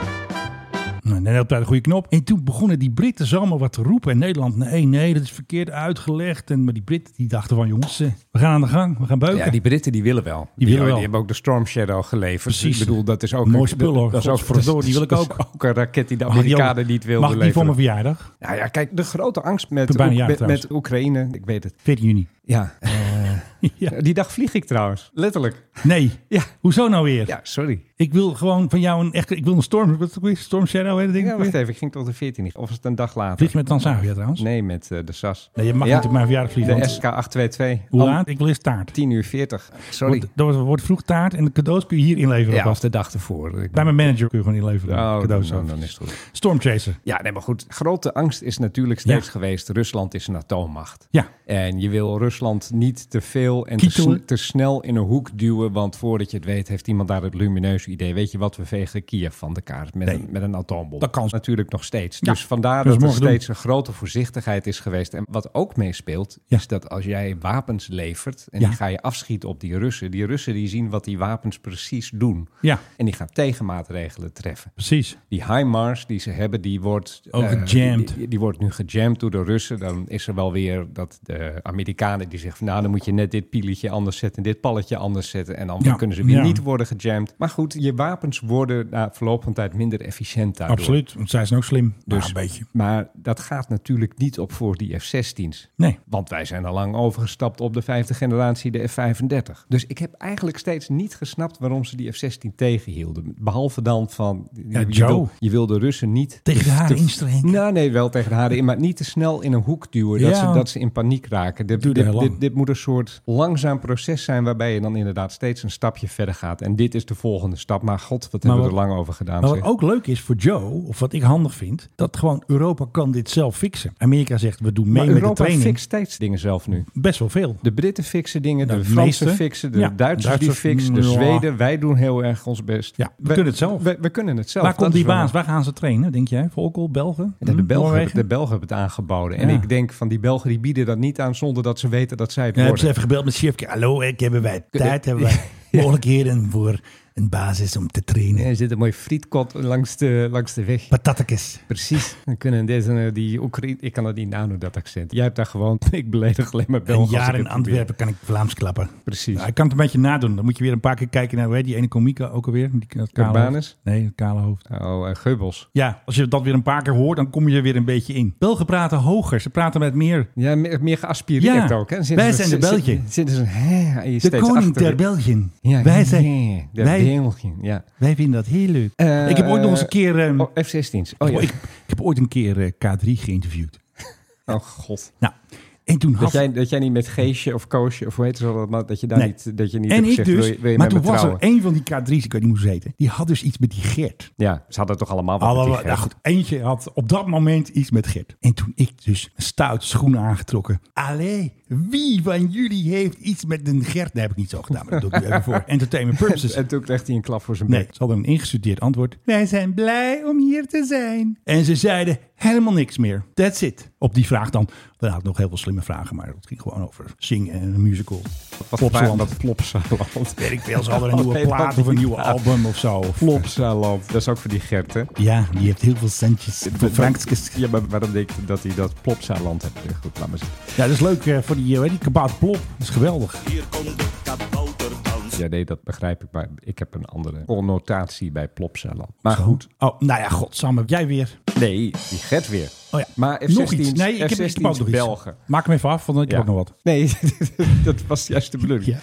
S6: Nou, net op de goede knop. En toen begonnen die Britten zomaar wat te roepen. En Nederland, nee, nee, dat is verkeerd uitgelegd. En, maar die Britten die dachten van, jongens, eh, we gaan aan de gang. We gaan beuken.
S2: Ja, die Britten die willen wel. Die,
S6: willen wel.
S2: die hebben ook de Storm Shadow geleverd.
S6: Precies.
S2: Ik bedoel, dat is ook...
S6: Mooi
S2: een-
S6: spul, hoor.
S2: Dat is ook,
S6: Godverdorie, die wil ik
S2: dat is
S6: ook.
S2: een raket die de
S6: Mag die ook-
S2: Amerikanen niet wilden
S6: Mag die voor
S2: leveren.
S6: mijn verjaardag?
S2: Nou ja, kijk, de grote angst
S6: ben
S2: met,
S6: bijna
S2: Oek-
S6: jarig
S2: met,
S6: trouwens.
S2: met Oekraïne, ik weet het.
S6: 14 juni.
S2: Ja,
S6: [LAUGHS] Ja.
S2: [LAUGHS] Die dag vlieg ik trouwens. Letterlijk.
S6: Nee.
S2: Ja.
S6: Hoezo nou weer?
S2: Ja, sorry.
S6: Ik wil gewoon van jou een echt. Ik wil een storm. Wat is het ook weer? Storm Shadow, hè, dat ding.
S2: Ja, wacht even. Ik ging tot de 14e. Of was het een dag later?
S6: Vlieg je met Transavia trouwens?
S2: Nee, met eh, de SAS.
S6: Nee, je mag
S2: Ja.
S6: niet op mijn verjaardag vliegen.
S2: De Oh.
S6: want-
S2: SK822.
S6: Hoe
S2: Om
S6: laat? Ik wil eens taart.
S2: 10 uur 40. Sorry.
S6: Want, dat wordt vroeg taart en de cadeaus kun je hier inleveren.
S2: Ja, of
S6: alvast.
S2: de dag ervoor. Ik
S6: Bij mijn manager kun je gewoon inleveren.
S2: Oh,
S6: cadeaus.
S2: dan, dan is het goed.
S6: Stormchaser.
S2: Ja, nee, maar goed. Grote angst is natuurlijk steeds
S6: Ja.
S2: geweest. Rusland is een atoommacht.
S6: Ja.
S2: En je wil Rusland niet te veel en te,
S6: Kietelen.
S2: sn- te snel in een hoek duwen. Want voordat je het weet, heeft iemand daar het lumineuze idee. Weet je wat, we vegen Kiev van de kaart met,
S6: Nee.
S2: een, met een atoombom.
S6: Dat kan.
S2: natuurlijk nog steeds.
S6: Ja.
S2: Dus vandaar dat
S6: Dus
S2: er
S6: morgen doen.
S2: steeds een grote voorzichtigheid is geweest. En wat ook meespeelt,
S6: Ja.
S2: is dat als jij wapens levert... en
S6: Ja.
S2: die ga je afschieten op die Russen. Die Russen die zien wat die wapens precies doen.
S6: Ja,
S2: En die gaan tegenmaatregelen treffen.
S6: precies.
S2: Die HIMARS die ze hebben, die wordt...
S6: Oh,
S2: eh,
S6: gejamd.
S2: Die, die- die wordt nu gejamd door de Russen. Dan is er wel weer dat de Amerikanen die zeggen... van, nou, dan moet je net dit pieletje anders zetten... en dit palletje anders zetten. En dan
S6: Ja,
S2: kunnen ze weer
S6: ja.
S2: niet worden gejamd. Maar goed, je wapens worden na verloop van tijd minder efficiënt daardoor.
S6: Absoluut. Want zij zijn ook slim. Dus
S2: Dus-
S6: een beetje.
S2: Maar dat gaat natuurlijk niet op voor die F-16's.
S6: Nee.
S2: Want wij zijn al lang overgestapt op de vijfde generatie, de F-35. Dus ik heb eigenlijk steeds niet gesnapt waarom ze die F-16 tegenhielden. Behalve dan van,
S6: Ja,
S2: je,
S6: Joe.
S2: wil, je wil de Russen niet...
S6: Tegen de haren instrengen.
S2: Nou nee, wel tegen de haren in, maar niet te snel in een hoek duwen. Dat,
S6: Ja.
S2: ze, dat ze in paniek raken. Dit,
S6: Duurde
S2: dit,
S6: heel lang.
S2: dit- dit moet een soort langzaam proces zijn... waarbij je dan inderdaad steeds een stapje verder gaat. En dit is de volgende stap. Maar god, wat hebben we
S6: wat-
S2: er lang over gedaan.
S6: Maar wat
S2: zeg.
S6: ook leuk is voor Joe, of wat ik handig vind, dat gewoon Europa kan dit zelf fixen. Amerika zegt, we doen mee
S2: maar
S6: met de
S2: Europa
S6: training.
S2: fixt steeds dingen zelf nu.
S6: Best wel veel.
S2: De Britten fixen dingen,
S6: Nou,
S2: de
S6: de
S2: Fransen
S6: meeste.
S2: fixen, de
S6: Ja,
S2: Duitsers, die
S6: Duitsers,
S2: fixen, de
S6: ja.
S2: Zweden. Wij doen heel erg ons best.
S6: Ja, we kunnen het zelf.
S2: We, we kunnen het zelf.
S6: Waar komt
S2: Dat is
S6: die baas?
S2: wel-
S6: Waar gaan ze trainen, denk jij? Volkel, Belgen?
S2: De, de,
S6: Hm,
S2: Belgen,
S6: Noorwegen?
S2: hebben- de Belgen hebben het aangeboden. En
S6: Ja.
S2: ik denk van die Belgen die bieden dat niet aan zonder dat ze weten dat zij het
S6: Ja, hebben ze
S2: worden.
S6: even gebeld met Sjefke. Hallo, ik hebben wij tijd, hebben wij mogelijkheden voor een basis om te trainen.
S2: Er zit een mooi frietkot langs de, langs de weg.
S6: Patatjes.
S2: Precies. Dan kunnen deze, eh, die Oekraïne... Ik kan dat niet nadoen, dat accent. Jij hebt daar gewoon... [LAUGHS] Ik beledig alleen maar Belgen.
S6: Een
S2: als ik
S6: jaar
S2: het
S6: in
S2: probeer.
S6: Antwerpen kan ik Vlaams klappen.
S2: Precies.
S6: Ja, ik kan het een beetje nadoen. Dan moet je weer een paar keer kijken naar hoe heet die ene komieke ook alweer. Die, dat kale
S2: Urbanus?
S6: hoofd. Nee, het kale hoofd.
S2: Oh, eh, Geubels.
S6: Ja, als je dat weer een paar keer hoort, dan kom je er weer een beetje in. Belgen praten hoger. Ze praten met meer.
S2: Ja, meer, meer geaspireerd
S6: Ja.
S2: ook. Hè? dus
S6: Wij
S2: ze-
S6: zijn de
S2: ze-
S6: België.
S2: Zitten ze... hè, je
S6: De
S2: steeds
S6: koning
S2: achter-
S6: der België.
S2: Ja,
S6: wij, zijn,
S2: ja, de
S6: wij-
S2: België, ja.
S6: wij vinden dat heel leuk.
S2: Eh,
S6: ik heb ooit nog eens een
S2: eh,
S6: keer... ehm,
S2: Oh, F-16's. Oh, ja.
S6: ik, ik heb ooit een keer eh, K3 geïnterviewd.
S2: oh god.
S6: Nou, en toen
S2: Dat
S6: had...
S2: jij, dat jij niet met Geesje of Koosje of hoe heet ze dat, maar dat je daar
S6: Nee.
S2: niet, dat je niet
S6: en
S2: hebt
S6: ik
S2: gezegd,
S6: dus.
S2: wil je, wil je
S6: maar
S2: met me
S6: toen was er
S2: trouwen?
S6: een van die K3's, ik weet niet hoe ze heten. Die had dus iets met die Gert.
S2: Ja, ze hadden toch allemaal wat
S6: Allemaal,
S2: met die
S6: nou
S2: gek.
S6: goed, eentje had op dat moment iets met Gert. En toen ik dus stout schoenen aangetrokken. Allee, wie van jullie heeft iets met een Gert? Dat heb ik niet zo gedaan, maar dat doe ik nu even [LAUGHS] voor entertainment purposes.
S2: En toen kreeg hij een klap voor zijn
S6: Nee,
S2: bek.
S6: ze hadden een ingestudeerd antwoord. Wij zijn blij om hier te zijn. En ze zeiden helemaal niks meer. That's it. Op die vraag dan. Dan had ik nog heel veel slimme vragen, maar het ging gewoon over zingen en een musical.
S2: Wat
S6: Plopsaland.
S2: Dat Plopsaland. Oh,
S6: Weet ik veel, ze
S2: [LAUGHS]
S6: hadden [LAUGHS] een nieuwe
S2: Alleen maar
S6: plaat of een
S2: die
S6: nieuwe
S2: plaat.
S6: album of zo.
S2: Plopsaland. Dat is ook voor die Gert, hè?
S6: Ja, die heeft heel veel centjes. Frankskes.
S2: Ja, maar waarom denk je dat hij dat Plopsaland heeft? Goed, laat maar zitten.
S6: Ja, dat is leuk eh, voor die, eh, weet die kabaat plop. Dat is geweldig.
S2: Ja, nee, dat begrijp ik, maar ik heb een andere connotatie bij Plopsaland. Maar Ah, goed.
S6: Oh, nou ja, godsamme. Jij weer.
S2: Nee, die Gert weer.
S6: Oh ja.
S2: Maar F-16's,
S6: nog iets. Nee, ik heb, ik heb ook
S2: F-16's
S6: nog iets.
S2: Belgen.
S6: Maak hem even af, want dan heb ik
S2: Ja.
S6: ook nog wat.
S2: Nee, [LAUGHS] dat was juist de bedoeling.
S6: Ja.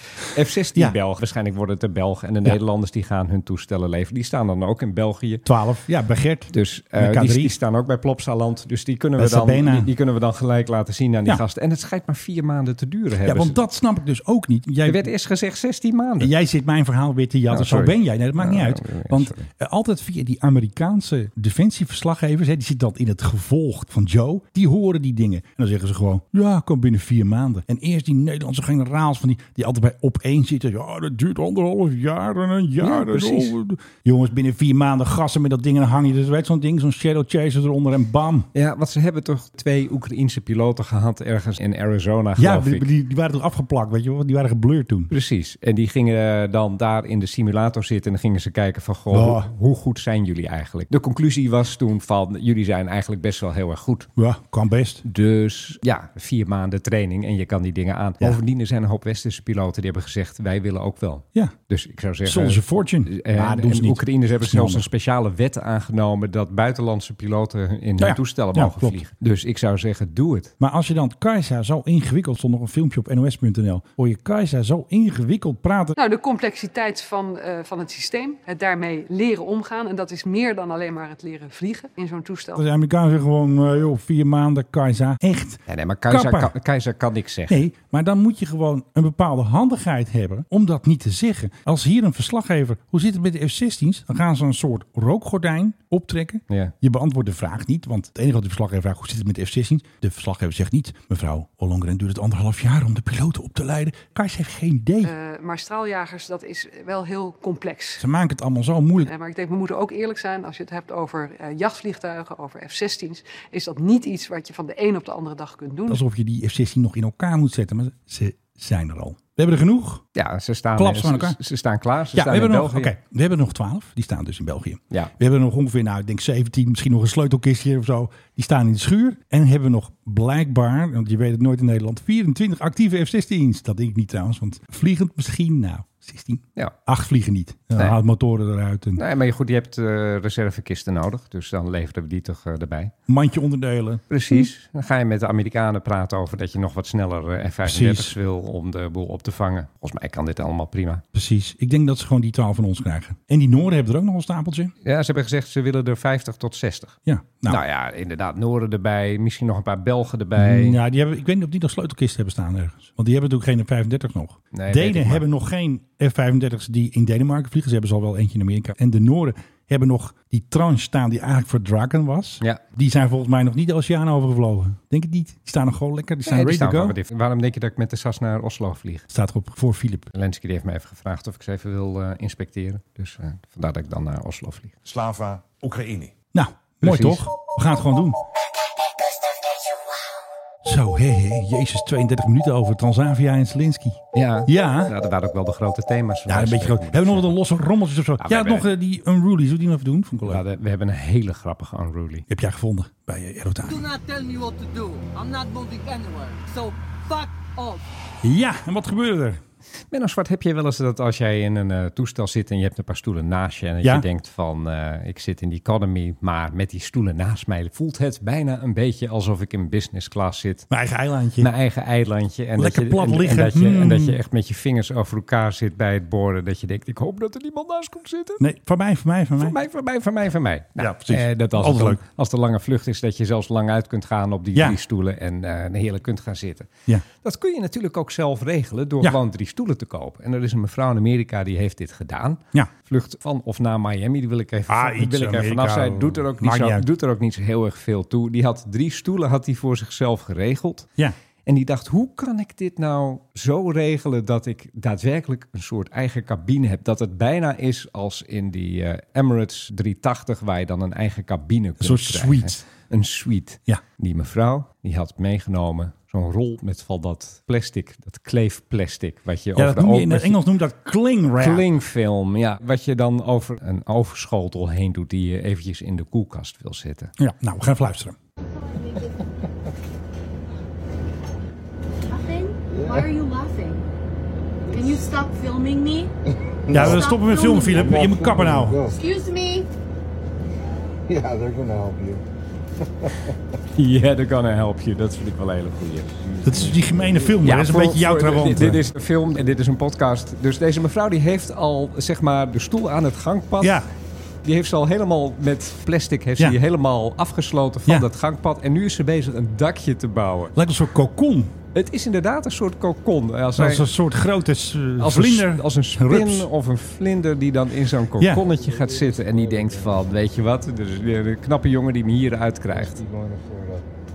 S2: F-16
S6: Ja.
S2: Belgen. Waarschijnlijk worden het de Belgen. En de
S6: Ja.
S2: Nederlanders die gaan hun toestellen leveren. Die staan dan ook in België.
S6: 12. Ja, bij Gert.
S2: Dus
S6: En
S2: eh,
S6: de
S2: die,
S6: K3.
S2: die staan ook bij Plopsaland. Dus die kunnen, we
S6: Bij
S2: dan,
S6: Sabena.
S2: die, die kunnen we dan gelijk laten zien aan die
S6: Ja.
S2: gasten. En het schijnt maar vier maanden te duren
S6: Ja,
S2: hebben
S6: want
S2: ze.
S6: dat snap ik dus ook niet. Jij,
S2: Er werd eerst gezegd 16 maanden.
S6: jij zit mijn verhaal weer te jatten.
S2: Nou,
S6: zo
S2: sorry.
S6: ben jij. Nee, dat maakt
S2: Nou,
S6: niet uit.
S2: sorry.
S6: Want eh, altijd via die Amerikaanse defensieverslaggevers, hè, die zitten dan in het gevolg van Joe, die horen die dingen. En dan zeggen ze gewoon, ja, kom binnen vier maanden. En eerst die Nederlandse generaals van die, die altijd bij opeen zitten. Ja, dat duurt anderhalf jaar en een jaar. en
S2: precies.
S6: oh, Jongens, binnen vier maanden gassen met dat ding en dan hang je dus, weet je, zo'n ding, zo'n shadow chaser eronder en bam.
S2: Ja, want ze hebben toch twee Oekraïense piloten gehad ergens in Arizona,
S6: Ja,
S2: geloof
S6: die,
S2: ik.
S6: die, die waren toch afgeplakt, weet je wel. Die waren geblurred toen.
S2: Precies. En die gingen eh, dan daar in de simulator zitten en dan gingen ze kijken van, goh,
S6: Oh.
S2: hoe, hoe goed zijn jullie eigenlijk? De conclusie was toen van, jullie zijn eigenlijk best wel heel heel erg goed.
S6: Ja, kan best.
S2: Dus ja, vier maanden training en je kan die dingen aan. Bovendien er zijn een hoop westerse piloten die hebben gezegd, wij willen ook wel.
S6: Ja.
S2: Dus ik zou zeggen...
S6: Soldier Fortune.
S2: En,
S6: ja,
S2: en
S6: doen ze
S2: de
S6: niet.
S2: Oekraïners hebben zelfs
S6: Snel.
S2: een speciale wet aangenomen dat buitenlandse piloten in hun
S6: Ja, ja.
S2: toestellen
S6: Ja,
S2: mogen
S6: klopt.
S2: vliegen. Dus ik zou zeggen, doe het.
S6: Maar als je dan Kajsa zo ingewikkeld, stond nog een filmpje op nos.nl, hoor je Kajsa zo ingewikkeld praten.
S7: Nou, de complexiteit van, eh, van het systeem. Het daarmee leren omgaan. En dat is meer dan alleen maar het leren vliegen in zo'n toestel.
S6: De Amerikanen zeggen gewoon, eh, joh, vier maanden Kajsa. Echt.
S2: Nee, nee maar Keizer
S6: Kapper.
S2: kan, Keizer kan niks zeggen.
S6: Nee, maar dan moet je gewoon een bepaalde handigheid hebben om dat niet te zeggen. Als hier een verslaggever, hoe zit het met de F-16's? Dan gaan ze een soort rookgordijn optrekken.
S2: Ja.
S6: Je beantwoordt de vraag niet, want het enige wat de verslaggever vraagt, hoe zit het met de F-16's? De verslaggever zegt niet, mevrouw Ollongren duurt het anderhalf jaar om de piloten op te leiden. Kajs heeft geen idee.
S7: Eh, maar straaljagers, dat is wel heel complex.
S6: Ze maken het allemaal zo moeilijk.
S7: Eh, maar ik denk, we moeten ook eerlijk zijn. Als je het hebt over eh, jachtvliegtuigen, over F-16's, is dat niet iets wat je van de een op de andere dag kunt doen.
S6: Alsof je die F-16 nog in elkaar moet zetten, maar ze zijn er al. We hebben er genoeg.
S2: Ja, ze staan,
S6: Klaps
S2: ze,
S6: van elkaar.
S2: ze staan klaar. Ze
S6: Ja, we
S2: staan
S6: hebben,
S2: in
S6: nog,
S2: België.
S6: oké, we hebben er nog 12. Die staan dus in België.
S2: Ja.
S6: We hebben er nog ongeveer, nou, ik denk 17, misschien nog een sleutelkistje of zo. Die staan in de schuur. En hebben we nog blijkbaar, want je weet het nooit in Nederland, 24 actieve F-16's. Dat denk ik niet trouwens, want vliegend misschien, nou, 16.
S2: Ja.
S6: Acht vliegen niet. Dan
S2: Nee.
S6: haalt motoren eruit. Een
S2: Nee, maar goed, je hebt eh, reservekisten nodig. Dus dan leveren we die toch eh, erbij.
S6: mandje onderdelen. Hm.
S2: Precies. Dan ga je met de Amerikanen praten over dat je nog wat sneller eh, F-35's
S6: Precies.
S2: wil om de boel op te vangen. Volgens mij kan dit allemaal prima.
S6: Precies. Ik denk dat ze gewoon die 12 van ons krijgen. En die Noorden hebben er ook nog een stapeltje.
S2: Ja, ze hebben gezegd ze willen er 50 tot 60.
S6: Ja.
S2: Nou, ja, inderdaad. Noorden erbij, misschien nog een paar Belgen erbij.
S6: Ja, die hebben, ik weet niet of die nog sleutelkisten hebben staan ergens. Want die hebben natuurlijk geen 35 nog.
S2: Nee, weet ik
S6: Denen
S2: maar.
S6: hebben nog geen F-35's die in Denemarken vliegen. Ze hebben ze al wel eentje in Amerika. En de Noorden hebben nog die tranche staan die eigenlijk voor Draken was.
S2: Ja.
S6: Die zijn volgens mij nog niet de oceaan overgevlogen. Denk het niet. Die staan nog gewoon lekker. Die staan
S2: Nee, die
S6: ready
S2: staan
S6: to
S2: wel
S6: go.
S2: wat in. Waarom denk je dat ik met de SAS naar Oslo vlieg?
S6: Staat erop voor Philip.
S2: Lensky die heeft me even gevraagd of ik ze even wil eh, inspecteren. Dus eh, vandaar dat ik dan naar Oslo vlieg.
S9: Slava, Oekraïne.
S6: Nou,
S2: Precies.
S6: mooi toch? We gaan het gewoon doen. Zo, hé, hé, jezus, 32 minuten over Transavia en Zelensky.
S2: Ja,
S6: Ja.
S2: Nou, dat waren ook wel de grote thema's.
S6: Ja, een beetje groot. Hebben we nog wat een losse rommeltjes of zo?
S2: Nou, we
S6: ja,
S2: hebben-
S6: nog eh, die Unruly. Zullen we die nog even doen? Vond ik wel leuk.
S2: Ja, we we hebben een hele grappige unruly.
S6: Die heb jij gevonden bij eh, Erotaan.
S11: not tell me what to do. I'm not moving anywhere. So fuck off.
S6: Ja, en wat gebeurde er?
S2: Menno Zwart, heb je wel eens dat als jij in een eh, toestel zit en je hebt een paar stoelen naast je en dat
S6: Ja.
S2: je denkt van eh, ik zit in die economy, maar met die stoelen naast mij voelt het bijna een beetje alsof ik in business class zit.
S6: Mijn eigen eilandje.
S2: Mijn eigen eilandje. En
S6: Lekker
S2: dat je,
S6: plat
S2: en- en
S6: liggen.
S2: dat je, en dat
S6: Mm.
S2: je echt met je vingers over elkaar zit bij het borden. Dat je denkt, ik hoop dat er niemand naast komt zitten.
S6: Nee, van mij, van mij, van mij.
S2: Van mij, van mij, van mij, van mij.
S6: Ja, precies.
S2: eh, dat als,
S6: Altijd
S2: het dan-
S6: leuk.
S2: als de lange vlucht is, dat je zelfs lang uit kunt gaan op die
S6: Ja.
S2: drie stoelen en eh heerlijk kunt gaan zitten.
S6: Ja.
S2: Dat kun je natuurlijk ook zelf regelen door
S6: Ja.
S2: gewoon drie stoelen te kopen. En er is een mevrouw in Amerika die heeft dit gedaan.
S6: Ja.
S2: Vlucht van of naar Miami, die wil ik even,
S6: Ah,
S2: die
S6: iets
S2: wil ik even
S6: Amerika,
S2: vanaf zijn. Doet er, ook niet
S6: maakt niet
S2: zo,
S6: uit.
S2: doet er ook niet zo heel erg veel toe. Die had drie stoelen had die voor zichzelf geregeld.
S6: Ja.
S2: En die dacht, hoe kan ik dit nou zo regelen dat ik daadwerkelijk een soort eigen cabine heb? Dat het bijna is als in die eh, Emirates 380, waar je dan een eigen cabine kunt
S6: soort
S2: krijgen.
S6: suite.
S2: Een suite.
S6: Ja.
S2: Die mevrouw, die had meegenomen zo'n rol met van dat plastic, dat kleefplastic, wat je
S6: Ja,
S2: over
S6: dat
S2: de
S6: noem je,
S2: ogen-
S6: in het
S2: wat je-
S6: Engels noemt dat cling wrap.
S2: Klingfilm, ja. Wat je dan over een overschotel heen doet die je eventjes in de koelkast wil zetten.
S6: Ja, nou, we gaan even luisteren.
S11: Why are you laughing? Can you stop filming me?
S6: Ja, we stoppen met filmen, Philip. Je moet kappen nou.
S11: Excuse me.
S2: Yeah, they're gonna help you. Dat vind ik wel een hele goeie.
S6: Dat is die gemene film, dat is een
S2: voor-
S6: beetje jouw
S2: voor-
S6: trawant.
S2: Dit, dit is een film en dit is een podcast. Dus deze mevrouw die heeft al zeg maar de stoel aan het gangpad.
S6: Ja,
S2: Die heeft ze al helemaal met plastic heeft
S6: Ja.
S2: ze die helemaal afgesloten van
S6: Ja.
S2: dat gangpad. En nu is ze bezig een dakje te bouwen.
S6: lijkt een soort cocon.
S2: Het is inderdaad een soort cocon. Als, hij-
S6: Als een soort grote eh,
S2: als
S6: vlinder.
S2: Een, als een spin
S6: rups.
S2: of een vlinder die dan in zo'n
S6: Ja.
S2: kokonnetje gaat zitten. En die denkt van, weet je wat, er is weer een knappe jongen die me hieruit krijgt.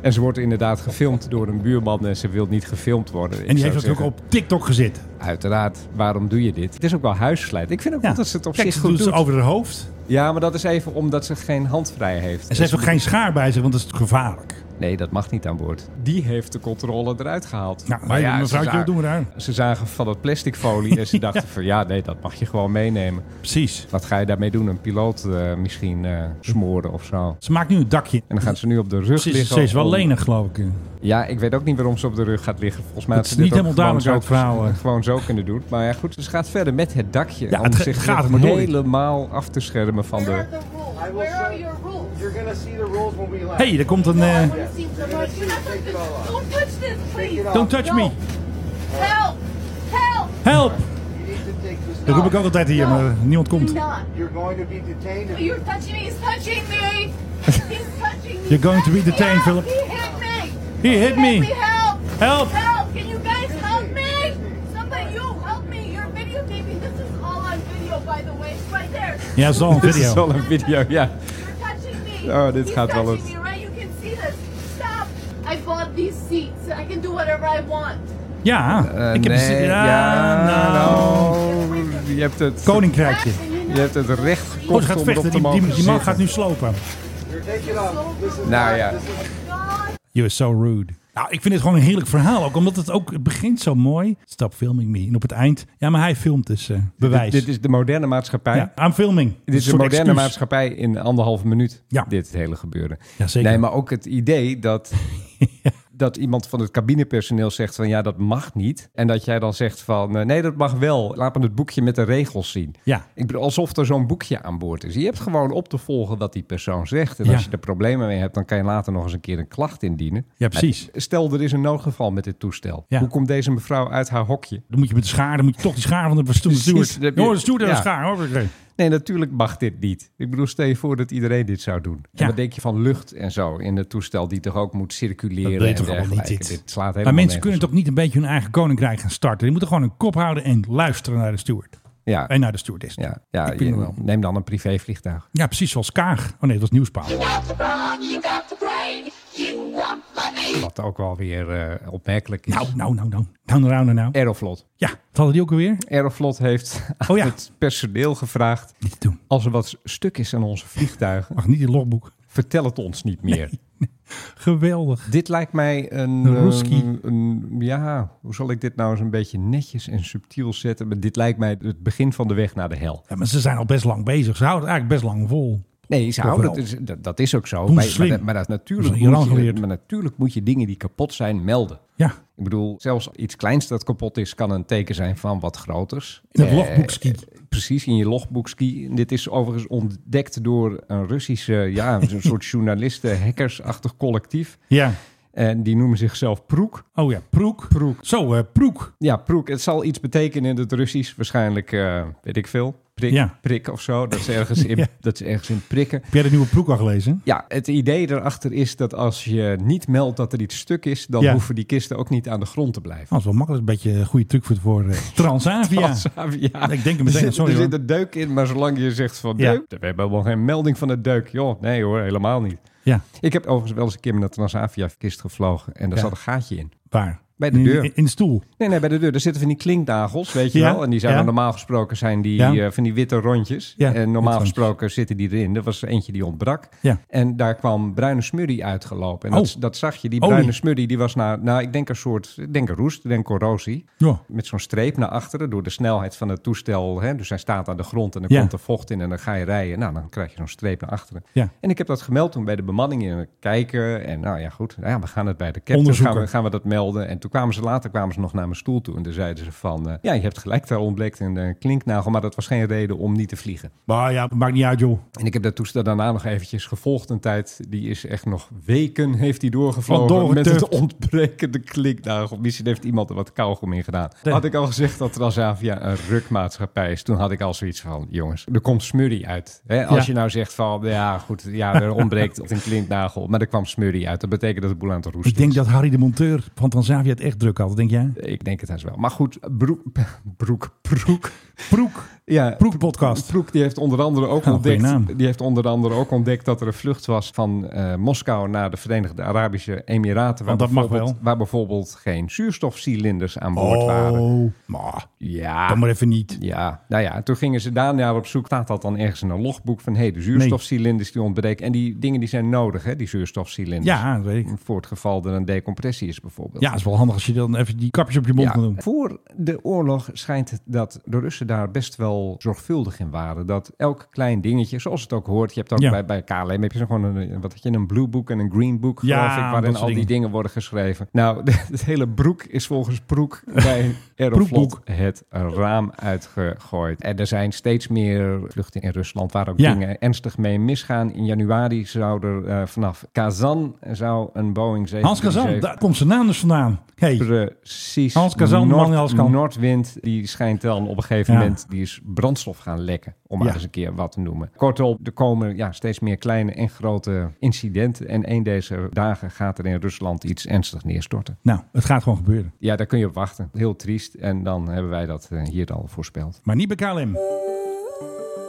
S2: En ze wordt inderdaad gefilmd door een buurman en ze wil niet gefilmd worden.
S6: En die heeft natuurlijk op TikTok gezet.
S2: Uiteraard, waarom doe je dit? Het is ook wel huisslijt. Ik vind ook
S6: Ja.
S2: wel dat ze het op
S6: Kijk,
S2: zich
S6: ze
S2: goed
S6: doet
S2: doet.
S6: ze over haar hoofd.
S2: Ja, maar dat is even omdat ze geen hand vrij heeft. Dus
S6: En ze heeft ook geen schaar bij zich, want dat is gevaarlijk.
S2: Nee, dat mag niet aan boord. Die heeft de controle eruit gehaald.
S6: Nou, nee, mevrouw, joh, doen we daar.
S2: Ze zagen van dat plastic folie
S6: [LAUGHS]
S2: en ze dachten van ja, nee, dat mag je gewoon meenemen.
S6: Precies.
S2: Wat ga je daarmee doen? Een piloot eh, misschien eh, smoren of zo.
S6: Ze maakt nu een dakje.
S2: En dan gaat ze nu op de rug
S6: Ze is,
S2: liggen.
S6: ze is wel
S2: om-
S6: lenig, geloof ik.
S2: Ja, ik weet ook niet waarom ze op de rug gaat liggen. Volgens mij
S6: Het
S2: had
S6: is
S2: ze dit
S6: niet
S2: ook
S6: helemaal
S2: gewoon
S6: duidelijk uit
S2: zo-
S6: het verhaal, hè.
S2: Gewoon zo kunnen doen. Maar ja, goed, ze gaat verder met het dakje.
S6: Ja,
S2: om
S6: het ge-
S2: zich
S6: gaat er maar door.
S2: helemaal af te schermen van de...
S12: Where are your rules? You're gonna see the rules when we land.
S6: hey, er komt een... eh,
S12: Don't touch this, please.
S6: don't touch me.
S12: Help! Help!
S6: Help! Dat roep ik ook altijd hier, maar niemand komt.
S12: You're going to be detained. You're touching me. He's
S6: [LAUGHS]
S12: touching me. He's touching me.
S6: You're going to be detained, Philip.
S12: He hit me.
S6: He hit me.
S12: Help!
S6: Help.
S12: Help! Can you guys help me? Somebody, you help me. You're videotaping. This is all on video, by the way. It's right there.
S6: Ja, het is
S2: [LAUGHS]
S6: al een
S2: Dit is
S6: video.
S2: al een video, ja.
S12: You're touching me.
S2: Oh, dit
S12: He's
S2: gaat wel
S12: touching
S2: eens.
S12: me, right? You can see this. Stop. I bought these seats. I can do whatever I want.
S6: Ja,
S2: Eh,
S6: ik heb
S2: nee,
S6: een-
S2: ja, nou, Je hebt het...
S6: Koninkrijkje.
S2: Je hebt het recht
S6: Oh,
S2: gekocht
S6: ze gaat
S2: om erop
S6: vechten.
S2: te
S6: Die,
S2: mogen
S6: die, die man
S2: zitten.
S6: gaat nu slopen.
S12: Oh
S2: Nou ja.
S6: You're so rude. Nou, ik vind het gewoon een heerlijk verhaal. Ook omdat het ook het begint zo mooi. Stop filming me. En op het eind. Ja, maar hij filmt dus. eh, bewijs.
S2: Dit, dit is de moderne maatschappij.
S6: ja, I'm filming.
S2: Dit is een
S6: soort
S2: moderne
S6: excuus.
S2: maatschappij in anderhalve minuut.
S6: Ja.
S2: Dit hele gebeuren.
S6: Ja, zeker.
S2: Nee, maar ook het idee
S6: [LAUGHS]
S2: dat, dat iemand van het cabinepersoneel zegt van ja, dat mag niet. En dat jij dan zegt van eh, nee, dat mag wel. Laat me het boekje met de regels zien.
S6: Ja.
S2: Ik bedoel, alsof er zo'n boekje aan boord is. Je hebt gewoon op te volgen wat die persoon zegt. En
S6: Ja.
S2: als je er problemen mee hebt, dan kan je later nog eens een keer een klacht indienen.
S6: Ja, precies.
S2: Maar Stel, er is een noodgeval met dit toestel.
S6: Ja.
S2: Hoe komt deze mevrouw uit haar hokje?
S6: Dan moet je met de schaar. Dan moet je toch die schaar van de bestuurder.
S2: [LAUGHS] Precies,
S6: Stuart.
S2: dat heb je-
S6: Hoor, de stuurder en de
S2: ja.
S6: schaar. Hoor. Oké.
S2: Nee, natuurlijk mag dit niet. Ik bedoel, stel je voor dat iedereen dit zou doen.
S6: Ja.
S2: En wat denk je van lucht en zo in het toestel die toch ook moet circuleren?
S6: Dat weet
S2: en
S6: toch allemaal
S2: dergelijke.
S6: niet, dit.
S2: slaat helemaal
S6: Maar mensen
S2: nergens
S6: kunnen
S2: op.
S6: toch niet een beetje hun eigen koninkrijk gaan starten. Die moeten gewoon een kop houden en luisteren naar de steward.
S2: Ja,
S6: En naar de stewardess. Ja,
S2: ja, ja
S6: Ik vind
S2: je-
S6: wel.
S2: neem dan een privévliegtuig.
S6: precies zoals Kaag. Oh nee, dat was Nieuwspaal.
S2: Wat ook wel weer eh, opmerkelijk is.
S6: Nou, nou, nou, nou. Nou, nou, nou, nou.
S2: Aeroflot.
S6: Ja, wat hadden die ook alweer?
S2: Aeroflot heeft aan
S6: Oh
S2: [LAUGHS]
S6: ja.
S2: het personeel gevraagd...
S6: Niet te doen.
S2: als er wat stuk is aan onze vliegtuigen,
S6: Mag niet in logboek.
S2: vertel het ons niet meer.
S6: Geweldig.
S2: Dit lijkt mij een...
S6: Een roeski.
S2: eh, een- ja, hoe zal ik dit nou eens een beetje netjes en subtiel zetten? Maar dit lijkt mij het begin van de weg naar de hel.
S6: Ja, maar ze zijn al best lang bezig. Ze houden het eigenlijk best lang vol.
S2: Nee, ze
S6: Toch
S2: houden
S6: wel.
S2: het, dus dat, dat is ook zo.
S6: Doen
S2: Maar,
S6: ze
S2: maar,
S6: slim.
S2: dat- maar dat
S6: Dat
S2: natuurlijk
S6: is Iran
S2: moet je,
S6: geleerd.
S2: maar natuurlijk moet je dingen die kapot zijn melden.
S6: Ja,
S2: Ik bedoel, zelfs iets kleins dat kapot is, kan een teken zijn van wat groters.
S6: in het
S2: Eh,
S6: logboekski.
S2: Precies, in je logboekski. En Dit is overigens ontdekt door een Russische,
S6: [LAUGHS]
S2: ja, een soort journalisten, hackersachtig collectief.
S6: Ja.
S2: En die noemen zichzelf Proek.
S6: Oh ja, Proek. Proek. Zo, eh, Proek.
S2: Ja, Proek. Het zal iets betekenen in het Russisch. Waarschijnlijk, eh, weet ik veel, prik,
S6: Ja.
S2: prik of zo. Dat is ergens in,
S6: [LAUGHS] Ja.
S2: dat is ergens in prikken.
S6: Heb jij de nieuwe Proek al gelezen?
S2: Ja, het idee erachter is dat als je niet meldt dat er iets stuk is, dan
S6: Ja.
S2: hoeven die kisten ook niet aan de grond te blijven.
S6: Oh, dat is wel makkelijk. Een beetje een goede truc voor, voor eh, Transavia.
S2: [LAUGHS] Transavia.
S6: Ik denk er
S2: er
S6: meteen aan,
S2: zit,
S6: sorry
S2: er
S6: hoor.
S2: zit een deuk in, maar zolang je zegt van
S6: Ja.
S2: deuk, we hebben helemaal geen melding van de deuk. Joh, nee hoor, helemaal niet.
S6: Ja,
S2: Ik heb overigens wel eens een keer met een Transavia-kist gevlogen en daar
S6: Ja.
S2: zat een gaatje in.
S6: waar?
S2: Bij de
S6: in,
S2: deur.
S6: In, in de stoel.
S2: Nee, nee, bij de deur. Daar zitten van die klinknagels, weet je
S6: Ja,
S2: wel. En die zijn
S6: ja.
S2: dan normaal gesproken zijn die,
S6: Ja.
S2: eh, van die witte rondjes.
S6: Ja,
S2: en
S6: witte
S2: normaal
S6: rondjes.
S2: gesproken zitten die erin. Er was eentje die ontbrak.
S6: Ja.
S2: En daar kwam bruine smurrie uitgelopen. En
S6: Oh.
S2: dat, dat zag je. Die
S6: Olie.
S2: bruine smurrie die was naar, nou, ik denk een soort, ik denk een roest, ik denk corrosie.
S6: Ja.
S2: Met zo'n streep naar achteren door de snelheid van het toestel. Hè? Dus hij staat aan de grond en dan
S6: Ja.
S2: komt er vocht in en dan ga je rijden. Nou, dan krijg je zo'n streep naar achteren.
S6: Ja.
S2: En ik heb dat gemeld toen bij de bemanning in kijken. En nou ja, goed. Nou ja, we gaan het bij de captain gaan
S6: Onderzoeken.
S2: we, gaan we dat melden. En toen kwamen ze later kwamen ze nog naar mijn stoel toe. En toen zeiden ze van, eh, ja, je hebt gelijk, daar ontbleekt een eh, klinknagel. Maar dat was geen reden om niet te vliegen.
S6: Maar ja, maakt niet uit joh.
S2: En ik heb dat toestel daarna nog eventjes gevolgd een tijd. Die is echt nog weken heeft die doorgevlogen
S6: Want
S2: met
S6: doorgetuft.
S2: het ontbrekende klinknagel. Misschien heeft iemand er wat kauwgom in gedaan.
S6: Nee.
S2: Had ik al gezegd dat Transavia een rukmaatschappij is. Toen had ik al zoiets van, jongens, er komt smurrie uit. Hè, als
S6: Ja.
S2: je nou zegt van, ja goed, ja,
S6: [LAUGHS]
S2: er ontbreekt een klinknagel. Maar er kwam smurrie uit. Dat betekent dat de boel aan het roesten
S6: Ik denk
S2: is.
S6: dat Harry de monteur van Transavia het echt druk had, denk jij?
S2: Ik denk het haast wel. Maar goed, [LAUGHS] broek, broek,
S6: Proek. Proek.
S2: Ja,
S6: Proek podcast.
S2: Proek die heeft onder andere ook
S6: Ja, goeie
S2: ontdekt.
S6: naam.
S2: Die heeft onder andere ook ontdekt dat er een vlucht was van eh, Moskou naar de Verenigde Arabische Emiraten.
S6: Want dat mag
S2: bijvoorbeeld-
S6: wel.
S2: Waar bijvoorbeeld geen zuurstofcilinders aan boord waren.
S6: Oh, maar.
S2: Ja.
S6: Dan maar even niet.
S2: Ja, nou ja, toen gingen ze daarna op zoek. Staat dat dan ergens in een logboek van... hé, hey, de zuurstofcilinders die ontbreken. En die dingen die zijn nodig, hè, die zuurstofcilinders.
S6: Ja, dat weet ik.
S2: Voor het geval er een decompressie is bijvoorbeeld.
S6: Ja, is wel handig als je dan even die kapjes op je mond
S2: Ja,
S6: kan doen.
S2: Voor de oorlog schijnt het dat de Russen daar best wel zorgvuldig in waren. Dat elk klein dingetje, zoals het ook hoort, je hebt ook
S6: Ja.
S2: bij, bij KLM heb je zo gewoon een, wat had je, een blue book en een green book, geloof
S6: Ja,
S2: ik,
S6: dat
S2: waarin
S6: soort
S2: al die
S6: dingen.
S2: dingen worden geschreven. Nou, [LAUGHS] het hele broek is volgens Broek [LAUGHS] bij Aeroflot
S6: Broekboek.
S2: het raam uitgegooid. En er zijn steeds meer vluchten in Rusland waar ook
S6: Ja.
S2: dingen ernstig mee misgaan. In januari zou er eh, vanaf Kazan zou een Boeing 737...
S6: Hans Kazan, daar komt zijn naam dus vandaan. Hey,
S2: Precies.
S6: Hans Kazan, de man die alles kan.
S2: Noordwind, die schijnt dan op een gegeven
S6: Ja.
S2: moment... die is brandstof gaan lekken, om maar
S6: Ja.
S2: eens een keer wat te noemen. Kortom, er komen ja, steeds meer kleine en grote incidenten. En een deze dagen gaat er in Rusland iets ernstig neerstorten.
S6: nou, het gaat gewoon gebeuren.
S2: Ja, daar kun je op wachten. Heel triest. En dan hebben wij dat eh, hier al
S6: [LAUGHS]
S2: voorspeld.
S6: Maar niet bij KLM.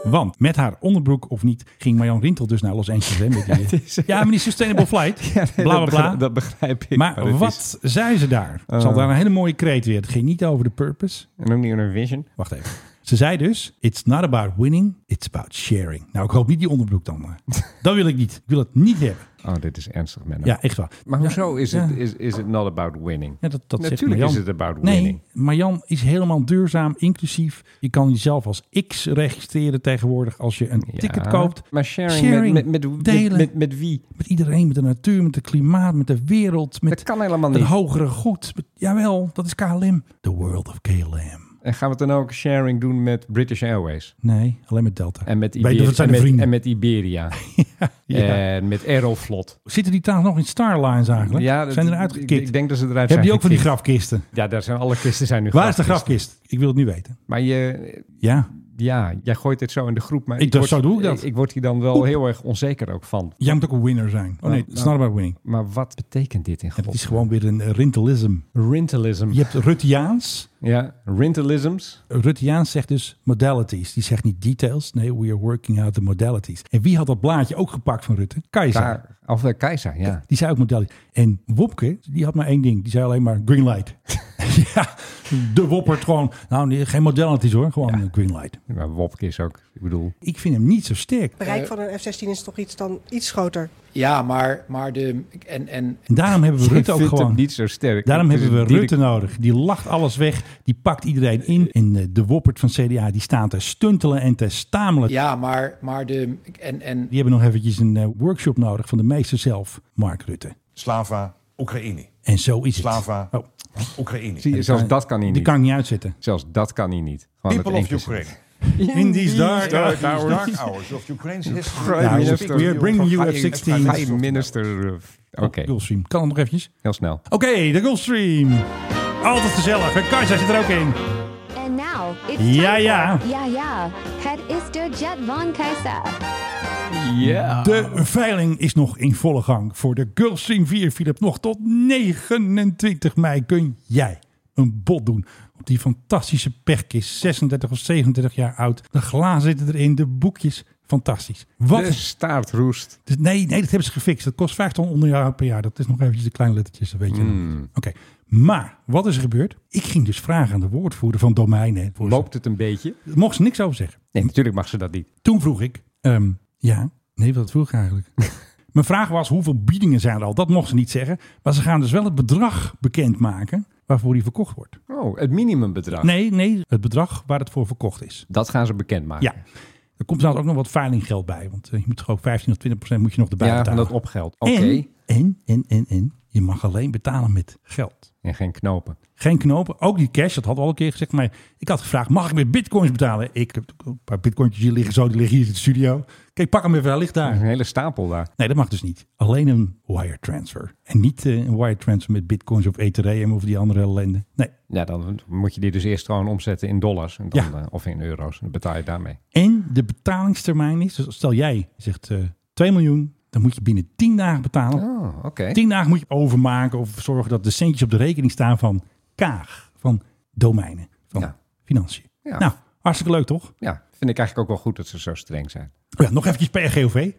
S6: Want met haar onderbroek of niet, ging Marjan Rintel dus naar Los Angeles.
S2: [LAUGHS]
S6: Hè, met die, ja, maar die Sustainable Flight.
S2: nee,
S6: bla bla
S2: dat,
S6: bla.
S2: begrijp, dat begrijp ik.
S6: maar
S2: het is- Eh.
S6: wat zei ze daar? Ze had daar een hele mooie kreet weer. Het ging niet over de purpose.
S2: En ook niet een vision.
S6: Wacht even. Ze zei dus, it's not about winning, it's about sharing. Nou, ik hoop niet die onderbroek dan
S2: [LAUGHS]
S6: maar. Dat wil ik niet. Ik wil het niet hebben.
S2: Oh, dit is ernstig, Menno.
S6: Ja, echt waar.
S2: Maar hoezo is het
S6: ja.
S2: is, is it not about winning?
S6: Ja, dat, dat zegt
S2: Natuurlijk
S6: Marjan.
S2: is het about winning.
S6: Nee, Marjan is helemaal duurzaam, inclusief. Je kan jezelf als X registreren tegenwoordig als je een ticket
S2: Ja,
S6: koopt.
S2: Maar sharing,
S6: Sharing,
S2: met, met, met,
S6: delen.
S2: Met, met wie?
S6: Met iedereen, met de natuur, met het klimaat, met de wereld, met
S2: Dat kan helemaal
S6: het
S2: niet.
S6: hogere goed. Met- jawel, dat is KLM. The world of KLM.
S2: En gaan we het dan ook sharing doen met British Airways?
S6: Nee, alleen met Delta.
S2: En met,
S6: Weet je, dat
S2: Iberia,
S6: zijn
S2: en met,
S6: de vrienden.
S2: en Eh, met
S6: [LAUGHS]
S2: Iberia.
S6: Ja.
S2: En met Aeroflot.
S6: Zitten die trouwens nog in Starlines eigenlijk?
S2: dat-
S6: zijn die eruit
S2: ik,
S6: gekikt?
S2: ik denk dat ze eruit
S6: Hebben die
S2: zijn
S6: ook van die
S2: gekikt.
S6: grafkisten?
S2: Ja, daar zijn alle kisten zijn nu
S6: Waar is de
S2: grafkisten.
S6: grafkist? Ik wil het nu weten.
S2: Maar je,
S6: Ja,
S2: ja, jij gooit dit zo in de groep. Maar
S6: Ik dacht, zo doe ik dat.
S2: Ik, word hier dan wel
S6: Oep.
S2: heel erg onzeker ook van.
S6: jij moet ook een winner zijn. Oh nee,
S2: Nou,
S6: it's not about winning.
S2: Maar wat betekent dit in
S6: Ja, dat
S2: godsnaam?
S6: is gewoon weer een eh, rintelism.
S2: Rintelism.
S6: Je hebt Ruttiaans.
S2: Ja, Rintelisms.
S6: Ruttiaans zegt dus modalities. Die zegt niet details. Nee, we are working out the modalities. En wie had dat blaadje ook gepakt van Rutte? Keizer.
S2: Daar, of eh, Keizer, ja.
S6: Die zei ook modalities. En Wopke, die had maar één ding. Die zei alleen maar green light. [LAUGHS] ja, de woppert gewoon. Nou, nee, geen modalities hoor. Gewoon een green light.
S2: Maar Wopke is ook, ik bedoel...
S6: Ik vind hem niet zo sterk.
S5: bereik van een F-16 is toch iets dan iets groter.
S10: Ja, maar, maar de. En, en
S6: En daarom hebben we
S2: Ik
S6: Rutte ook
S2: vind hem
S6: gewoon.
S2: niet zo sterk.
S6: Daarom
S2: Het is
S6: hebben we
S2: een direct-
S6: Rutte nodig. Die lacht alles weg. Die pakt iedereen in. En eh, de woppert van CDA die staat te stuntelen en te stamelen.
S10: Ja, maar, maar de. En, en
S6: Die hebben nog eventjes een eh, workshop nodig van de meester zelf, Mark Rutte.
S9: Slava, Oekraïne.
S6: En zo is het.
S9: Slava,
S6: Oh,
S9: Oekraïne.
S2: Zie je, zelfs dat kan hij
S6: die
S2: niet.
S6: kan ik niet uitzetten.
S2: Zelfs dat kan hij niet. Gewoon
S9: People
S2: het
S9: of
S2: enkele
S9: Ukraine.
S2: zin.
S6: In these dark
S9: Dark
S6: hours.
S9: hours of Ukraine's history.
S6: Nou,
S9: Speak
S6: we are
S9: to
S6: bringing you
S9: you
S6: F-16.
S9: Prime
S2: Prime Minister. eh, Oké,
S6: Gulfstream. Kan het nog eventjes?
S2: heel snel.
S6: Oké, de Gulfstream. Altijd gezellig. En Kajsa zit er ook in.
S13: And now nou, it's
S6: Ja,
S13: time
S6: ja.
S13: for Ja Ja. Het is de Jet van Kaiser.
S2: Ja.
S6: De veiling is nog in volle gang. Voor de Gulfstream 4, Philip, nog tot 29 mei kun jij een bod doen. Op die fantastische pechkist, 36 of 37 jaar oud. De glazen zitten erin, de boekjes. Fantastisch. Wat
S2: De staart roest.
S6: Dus nee, nee, dat hebben ze gefixt. Dat kost 5 ton onderjaar per jaar. Dat is nog eventjes de kleine lettertjes, dat weet je.
S2: Hmm.
S6: Oké, maar wat is er gebeurd? Ik ging dus vragen aan de woordvoerder van domeinen. Daar
S2: Loopt het een beetje?
S6: mocht ze niks over zeggen.
S2: Nee, natuurlijk mag ze dat niet.
S6: Toen vroeg ik, ehm, ja, nee, wat vroeg ik
S2: [LAUGHS]
S6: eigenlijk? Mijn vraag was, hoeveel biedingen zijn er al? Dat mocht ze niet zeggen. Maar ze gaan dus wel het bedrag bekendmaken waarvoor die verkocht wordt.
S2: Oh, het minimumbedrag.
S6: Nee, nee, het bedrag waar het voor verkocht is.
S2: Dat gaan ze bekendmaken.
S6: Ja. Er komt trouwens ook nog wat veilingeld bij. Want eh, je moet gewoon 15 of 20 procent moet je nog erbij
S2: Ja, van
S6: betalen.
S2: dat opgeld. Oké.
S6: En, en, en, en, je mag alleen betalen met geld.
S2: En geen knopen.
S6: Geen knopen, ook niet cash, dat had we al een keer gezegd. Maar ik had gevraagd, mag ik met bitcoins betalen? Ik heb ook een paar bitcointjes hier liggen, zo, die liggen hier in de studio. Kijk, pak hem even, hij ligt
S2: Een
S6: daar.
S2: hele stapel daar.
S6: Nee, dat mag dus niet. Alleen een wire transfer. En niet eh, een wire transfer met bitcoins of Ethereum of die andere ellende. Nee.
S2: Ja, dan moet je die dus eerst gewoon omzetten in dollars. En dan,
S6: Ja.
S2: eh, of in euro's. Dan betaal je daarmee.
S6: En de betalingstermijn is, dus stel jij zegt eh 2 miljoen, dan moet je binnen 10 dagen betalen.
S2: Oh, oké.
S6: Tien dagen moet je overmaken of zorgen dat de centjes op de rekening staan van Kaag, van domeinen, van
S2: Ja.
S6: financiën. Nou, hartstikke leuk toch? Oh
S2: Ja, vind ik eigenlijk ook wel goed dat ze zo streng zijn.
S6: Ja, nog eventjes PRGOV.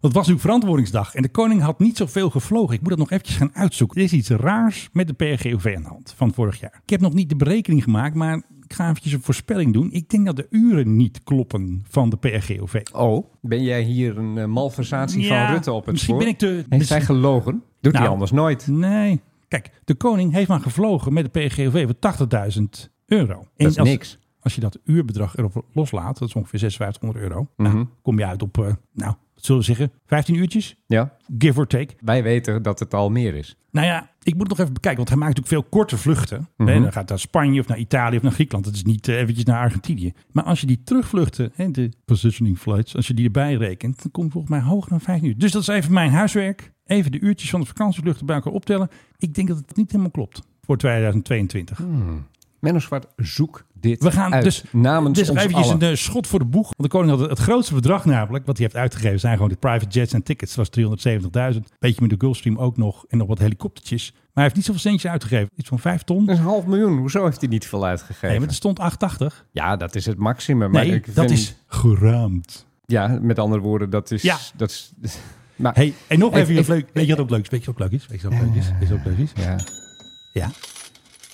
S6: Dat was natuurlijk verantwoordingsdag en de koning had niet zoveel gevlogen. Ik moet dat nog eventjes gaan uitzoeken. Er is iets raars met de PRGOV aan de hand van vorig jaar. Ik heb nog niet de berekening gemaakt, maar ik ga eventjes een voorspelling doen. Ik denk dat de uren niet kloppen van de PRGOV.
S2: Oh, ben jij hier een eh, malversatie
S6: Ja,
S2: van Rutte op het
S6: misschien
S2: spoor?
S6: ben ik te-
S2: Heeft zij
S6: misschien- Nou.
S2: gelogen? Doet hij anders nooit?
S6: Nee. Kijk, de koning heeft maar gevlogen met de PGOV voor 80.000 euro. En
S2: is niks.
S6: Als je dat uurbedrag erop loslaat, dat is ongeveer 5600 euro. Nou,
S2: Mhm.
S6: kom je uit op, eh, nou, wat zullen we zeggen, 15 uurtjes?
S2: Ja.
S6: Give or take.
S2: Wij weten dat het al meer is.
S6: Nou ja, ik moet nog even bekijken, want hij maakt natuurlijk veel korte vluchten.
S2: Mhm.
S6: Hè, dan gaat hij naar Spanje of naar Italië of naar Griekenland. Dat is niet eh, eventjes naar Argentinië. Maar als je die terugvluchten, hè, de positioning flights, als je die erbij rekent, dan kom je volgens mij hoger dan 15 uur. Dus dat is even mijn huiswerk. Even de uurtjes van de vakantievluchten bij elkaar optellen. Ik denk dat het niet helemaal klopt voor 2022.
S2: Menno Zwart, zoek dit
S6: We gaan
S2: uit
S6: dus
S2: namens
S6: dus
S2: ons
S6: eventjes
S2: allen.
S6: een eh, schot voor de boeg. Want de koning had het grootste bedrag namelijk, wat hij heeft uitgegeven, zijn gewoon de private jets en tickets. Dat was 370.000. Beetje met de Gulfstream ook nog en nog wat helikoptertjes. Maar hij heeft niet zoveel centjes uitgegeven. Iets van vijf ton.
S2: Dat is een half miljoen. Hoezo heeft hij niet veel uitgegeven?
S6: Nee, maar er stond 880.
S2: Ja, dat is het maximum. Maar
S6: nee,
S2: ik
S6: dat
S2: vind-
S6: is geraamd.
S2: Ja, met andere woorden, dat is...
S6: Ja.
S2: Dat is [LAUGHS] maar,
S6: Hey, en nog
S2: Ik-
S6: even iets
S2: ik-
S6: leuk. Weet je wat ook leuk is? Weet je wat ook leuk is? Weet je wat ook leuk is? Weet je wat ook leuk is?
S2: Ja.
S6: Ja.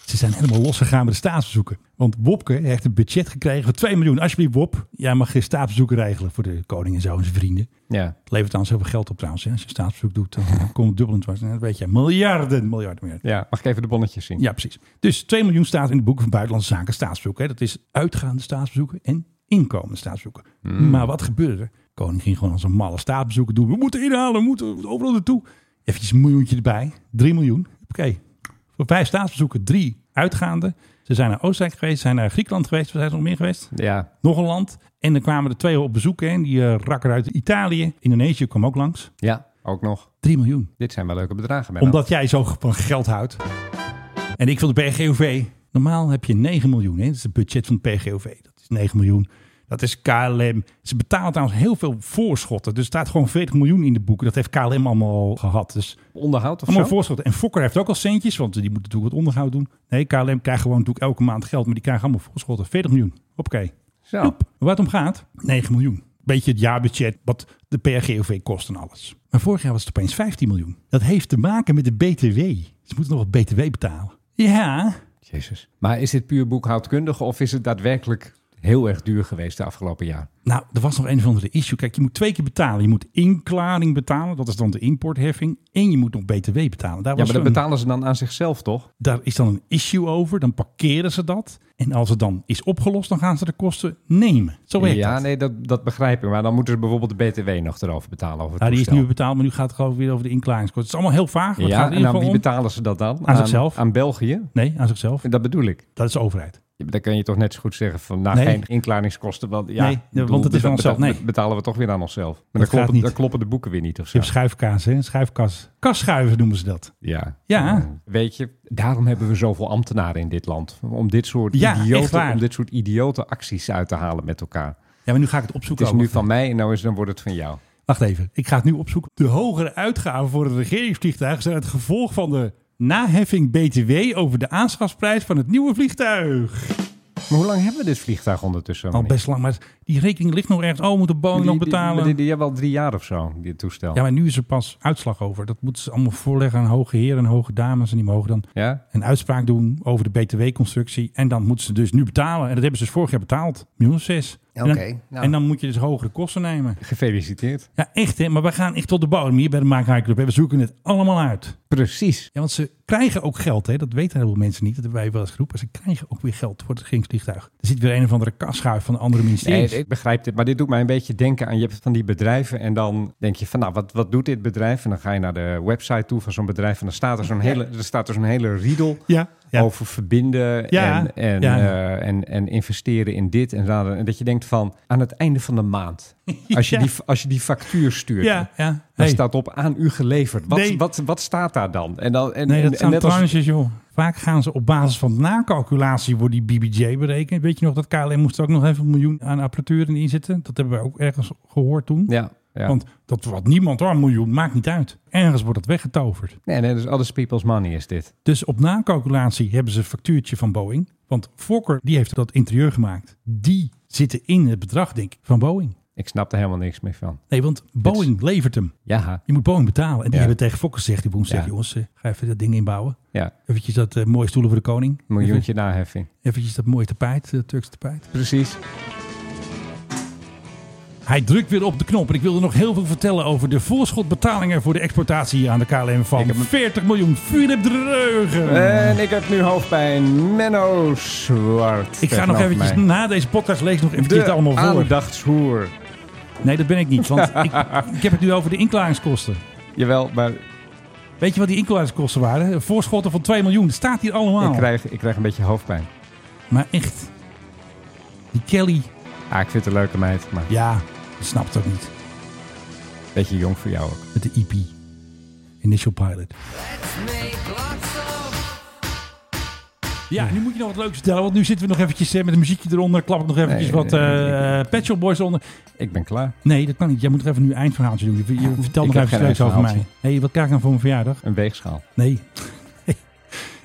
S6: Ze zijn helemaal losgegaan met de staatsbezoeken. Want Wopke heeft een budget gekregen van 2 miljoen. Alsjeblieft, Wop. Jij mag geen staatsbezoeken regelen voor de koning en zo en zijn vrienden.
S2: Ja.
S6: Het levert trouwens heel veel geld op trouwens. hè. Als je een staatsbezoek doet, dan [LAUGHS] komt het dubbelend dwars. En Dat weet je. Miljarden, miljarden, miljarden.
S2: ja, mag ik even de bonnetjes zien?
S6: Ja, precies. Dus 2 miljoen staat in de boeken van Buitenlandse Zaken staatsbezoeken. hè. Dat is uitgaande staatsbezoeken en inkomende staatsbezoeken.
S2: Hmm.
S6: Maar wat gebeurde er? De Koning ging gewoon als een malle staatsbezoeken doen. We moeten inhalen, we moeten we moeten overal naartoe. Even een miljoentje erbij. 3 miljoen. Oké. Voor vijf staatsbezoeken, drie uitgaande. Ze zijn naar Oostenrijk geweest, ze zijn naar Griekenland geweest. Waar zijn ze nog meer geweest?
S2: Ja.
S6: Nog een land. En dan kwamen er twee op bezoek. Hè. Die eh, rakker uit Italië. Indonesië kwam ook langs.
S2: Ja, ook nog.
S6: 3 miljoen.
S2: Dit zijn wel leuke bedragen. Menno.
S6: Omdat jij zo van geld houdt. En ik wil de PGOV. Normaal heb je 9 miljoen. Hè? Dat is het budget van de PGOV. Dat is 9 miljoen. Dat is KLM. Ze betalen trouwens heel veel voorschotten. Dus er staat gewoon 40 miljoen in de boeken. Dat heeft KLM allemaal al gehad. Dus
S2: Onderhoud of
S6: allemaal
S2: zo?
S6: voorschotten. En Fokker heeft ook al centjes. Want die moeten natuurlijk wat onderhoud doen. Nee, KLM krijgt gewoon natuurlijk elke maand geld. Maar die krijgen allemaal voorschotten. 40 miljoen. Oké.
S2: Zo.
S6: Waar het om gaat? 9 miljoen. Beetje het jaarbudget wat de PRGOV kost en alles. Maar vorig jaar was het opeens 15 miljoen. Dat heeft te maken met de BTW. Ze moeten nog wat BTW betalen. Ja.
S2: Jezus. Maar is dit puur boekhoudkundig of is het daadwerkelijk heel erg duur geweest de afgelopen jaar?
S6: Nou, er was nog een of andere issue. Kijk, je moet twee keer betalen. Je moet inklaring betalen. Dat is dan de importheffing. En je moet nog BTW betalen. Daar
S2: ja,
S6: was
S2: maar dat
S6: een-
S2: betalen ze dan aan zichzelf, toch?
S6: Daar is dan een issue over. Dan parkeren ze dat. En als het dan is opgelost, dan gaan ze de kosten nemen. Zo werkt
S2: ja,
S6: dat.
S2: nee, dat, dat begrijp ik. Maar dan moeten ze bijvoorbeeld de BTW nog erover betalen. Over het
S6: Nou, die is
S2: toestel.
S6: nu betaald, maar nu gaat het gewoon weer over de inklaringskosten. Het is allemaal heel vaag. maar het
S2: Ja,
S6: gaat in
S2: en
S6: ieder
S2: aan
S6: geval
S2: wie
S6: om-
S2: betalen ze dat dan?
S6: Aan zichzelf.
S2: Aan België?
S6: Nee, aan zichzelf.
S2: Dat bedoel ik.
S6: Dat is de overheid.
S2: Ja, maar Dan kan je toch net zo goed zeggen van nou,
S6: Nee.
S2: geen inklaringskosten. Want, ja,
S6: Nee,
S2: ik
S6: want het is
S2: beta-
S6: aan onszelf.
S2: beta-
S6: Nee.
S2: betalen we toch weer aan onszelf. Maar
S6: gaat
S2: dan kloppen,
S6: niet.
S2: dan kloppen de boeken weer niet of
S6: Je
S2: zo.
S6: hebt schuifkaas, hè? Schuifkas. Kasschuiven noemen ze dat.
S2: Ja.
S6: Ja.
S2: Mm. Weet je, daarom hebben we zoveel ambtenaren in dit land. Om dit soort,
S6: Ja, echt
S2: idioten,
S6: waar.
S2: om dit soort idiote acties uit te halen met elkaar.
S6: Ja, maar nu ga ik het
S2: Het
S6: opzoeken.
S2: is
S6: ook.
S2: nu van mij en nou is, dan wordt het van jou.
S6: Wacht even, ik ga het nu opzoeken. De hogere uitgaven voor het regeringsvliegtuig zijn het gevolg van de naheffing BTW over de aanschafprijs van het nieuwe vliegtuig.
S2: Maar hoe lang hebben we dit vliegtuig ondertussen?
S6: Al Oh, best lang, maar die rekening ligt nog ergens. Oh, moet de Boeing nog betalen?
S2: Die, die, die hebben al drie jaar of zo, dit toestel.
S6: ja, maar nu is er pas uitslag over. Dat moeten ze allemaal voorleggen aan hoge heren en hoge dames. En die mogen dan
S2: Ja?
S6: een uitspraak doen over de BTW-constructie. En dan moeten ze dus nu betalen. En dat hebben ze dus vorig jaar betaald. Miljoen of zes. En dan-
S2: Oké, nou.
S6: En dan moet je dus hogere kosten nemen.
S2: Gefeliciteerd.
S6: Ja, echt hè. Maar we gaan echt tot de bodem hier bij de Maak High Club. hè. We zoeken het allemaal uit.
S2: Precies.
S6: Ja, want ze krijgen ook geld hè. Dat weten heel veel mensen niet. Dat hebben wij wel eens geroepen. Ze krijgen ook weer geld voor het regeringsvliegtuig. Er zit weer een of andere kasschuif van de andere ministeries.
S2: Nee, ik begrijp dit, maar dit doet mij een beetje denken aan je hebt van die bedrijven en dan denk je van nou wat, wat doet dit bedrijf en dan ga je naar de website toe van zo'n bedrijf en dan staat er zo'n hele er staat er zo'n hele riedel
S6: Ja, ja.
S2: over verbinden
S6: Ja,
S2: en, en,
S6: ja.
S2: eh, en, en investeren in dit en dat en dat je denkt van aan het einde van de
S6: [LAUGHS]
S2: maand als je
S6: Ja.
S2: die als je die factuur stuurt
S6: Ja, ja.
S2: dan
S6: Hey.
S2: staat op aan u geleverd wat,
S6: Nee.
S2: wat, wat staat daar dan en dan en,
S6: Nee,
S2: en,
S6: dat
S2: en
S6: zijn
S2: net als-
S6: tranches, joh. Vaak gaan ze op basis van nakalculatie wordt die BBJ berekend. Weet je nog dat KLM moest er ook nog even een miljoen aan apparatuur in inzetten? Dat hebben we ook ergens gehoord toen.
S2: Ja, ja.
S6: Want dat wat niemand, oh, een miljoen, maakt niet uit. Ergens wordt dat weggetoverd.
S2: nee nee dus alles people's money is dit
S6: Dus op nakalculatie hebben ze een factuurtje van Boeing. Want Fokker, die heeft dat interieur gemaakt. Die zitten in het bedrag, denk ik, van Boeing.
S2: Ik snap er helemaal niks meer van.
S6: Nee, want Boeing levert hem.
S2: Ja.
S6: Je moet Boeing betalen. En die
S2: Ja.
S6: hebben tegen Fokker gezegd, die boem zegt,
S2: Ja.
S6: jongens, eh, ga even dat ding inbouwen.
S2: Ja.
S6: Eventjes dat eh, mooie stoelen voor de koning.
S2: Miljoentje
S6: Mhm.
S2: naheffing.
S6: Even, eventjes dat mooie tapijt, eh, Turks tapijt.
S2: Precies.
S6: Hij drukt weer op de knop. En ik wilde nog heel veel vertellen over de voorschotbetalingen voor de exportatie aan de KLM van 40 miljoen. Philip Dreugen.
S2: En ik heb nu hoofdpijn. Menno Zwart.
S6: Ik ga nog
S2: tegenover
S6: eventjes
S2: nou mij.
S6: na deze podcast lees ik nog eventjes
S2: De
S6: het allemaal voor.
S2: aandachtshoer.
S6: Nee, dat ben ik
S2: [LAUGHS]
S6: niet. Want ik, ik heb het nu over de inklaringskosten.
S2: Jawel, maar
S6: Weet je wat die inklaringskosten waren? Voorschotten van 2 miljoen. Dat staat hier allemaal.
S2: ik krijg, ik krijg een beetje hoofdpijn.
S6: Maar echt. Die Kelly.
S2: Ah, ik vind het een leuke meid, maar
S6: Ja, dat snapt ook niet.
S2: beetje jong voor jou ook.
S6: Met de EP. Initial Pilot. Ja, nu moet je nog wat leuks vertellen. Want nu zitten we nog eventjes eh, met een muziekje eronder. Klap ik nog eventjes
S2: Nee,
S6: wat
S2: nee,
S6: eh,
S2: nee,
S6: Pet Shop Boys onder.
S2: Ik ben klaar.
S6: Nee, dat kan niet. Jij moet nog even nu een eindverhaaltje doen. Je, je vertelt
S2: Ik
S6: nog
S2: heb
S6: even
S2: geen
S6: leuks over mij.
S2: eindverhaaltje.
S6: hey, wat krijg ik nou voor mijn verjaardag?
S2: Een weegschaal.
S6: Nee. [LAUGHS]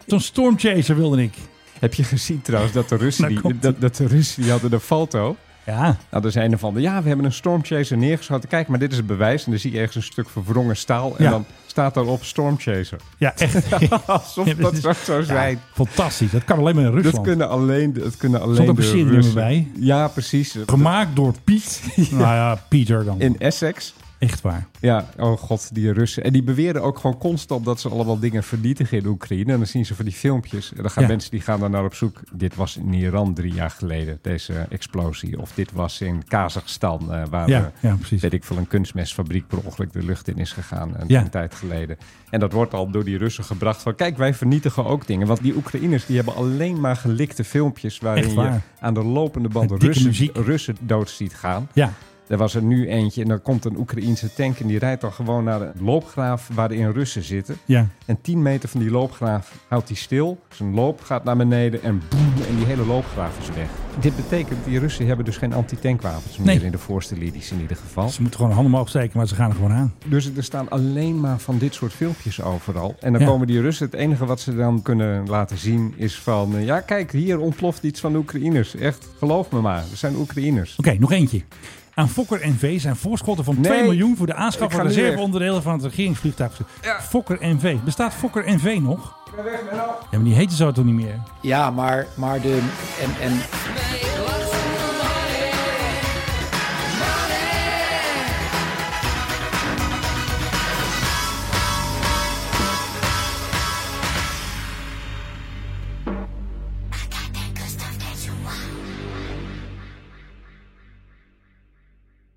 S6: Zo'n stormchaser wilde ik.
S2: Heb je gezien trouwens [LAUGHS] dat de Russen, die, dat, dat de Russen die hadden de foto.
S6: Ja.
S2: Nou, er zijn er van, ja, we hebben een stormchaser neergeschoten. Kijk, maar dit is het bewijs. En dan zie je ergens een stuk verwrongen staal. En
S6: Ja.
S2: dan staat daarop stormchaser.
S6: Ja, echt.
S2: Alsof
S6: Ja,
S2: [LAUGHS] dat
S6: is-
S2: straks zou zijn.
S6: Fantastisch. Dat kan alleen maar in Rusland.
S2: Dat kunnen alleen, dat kunnen
S6: een
S2: alleen de
S6: passeringsnummer
S2: Russen.
S6: bij?
S2: Ja, precies.
S6: Gemaakt door
S2: [LAUGHS]
S6: Piet. Nou ja, Pieter dan.
S2: In Essex.
S6: Echt waar.
S2: Ja, oh god, die Russen. En die beweren ook gewoon constant dat ze allemaal dingen vernietigen in Oekraïne. En dan zien ze van die filmpjes. En dan gaan
S6: Ja.
S2: mensen die gaan daar naar op zoek. Dit was in Iran drie jaar geleden, deze explosie. Of dit was in Kazachstan, eh, waar
S6: Ja, ja, precies.
S2: weet ik veel, een kunstmestfabriek per ongeluk de lucht in is gegaan. Een,
S6: Ja.
S2: een tijd geleden. En dat wordt al door die Russen gebracht van, kijk, wij vernietigen ook dingen. Want die Oekraïners, die hebben alleen maar gelikte filmpjes waarin
S6: Echt
S2: je
S6: waar.
S2: aan de lopende band
S6: Met dikke
S2: Russen,
S6: muziek.
S2: Russen dood ziet gaan.
S6: Ja.
S2: Er was er nu eentje en dan komt een Oekraïense tank en die rijdt dan gewoon naar een loopgraaf waarin Russen zitten.
S6: Ja.
S2: En 10 meter van die loopgraaf houdt hij stil. Zijn loop gaat naar beneden en boem, en die hele loopgraaf is weg. Dit betekent, die Russen hebben dus geen antitankwapens meer
S6: Nee.
S2: in de voorste linies in ieder geval.
S6: Ze moeten gewoon handen omhoog steken, maar ze gaan er gewoon aan.
S2: Dus er staan alleen maar van dit soort filmpjes overal. En dan
S6: Ja.
S2: komen die Russen, het enige wat ze dan kunnen laten zien is van... eh, Ja, kijk, hier ontploft iets van de Oekraïners. Echt, geloof me maar, er zijn Oekraïners.
S6: Oké, nog eentje. Aan Fokker NV zijn voorschotten van
S2: Nee.
S6: 2 miljoen voor de aanschaf
S2: Ik
S6: van
S2: ga nu
S6: reserveonderdelen van het regeringsvliegtuig. Fokker NV. Bestaat Fokker NV nog?
S2: Ik ben weg, nou- Menno.
S6: Ja, maar die heette zo toch niet meer?
S10: Ja, maar, maar de... En, en,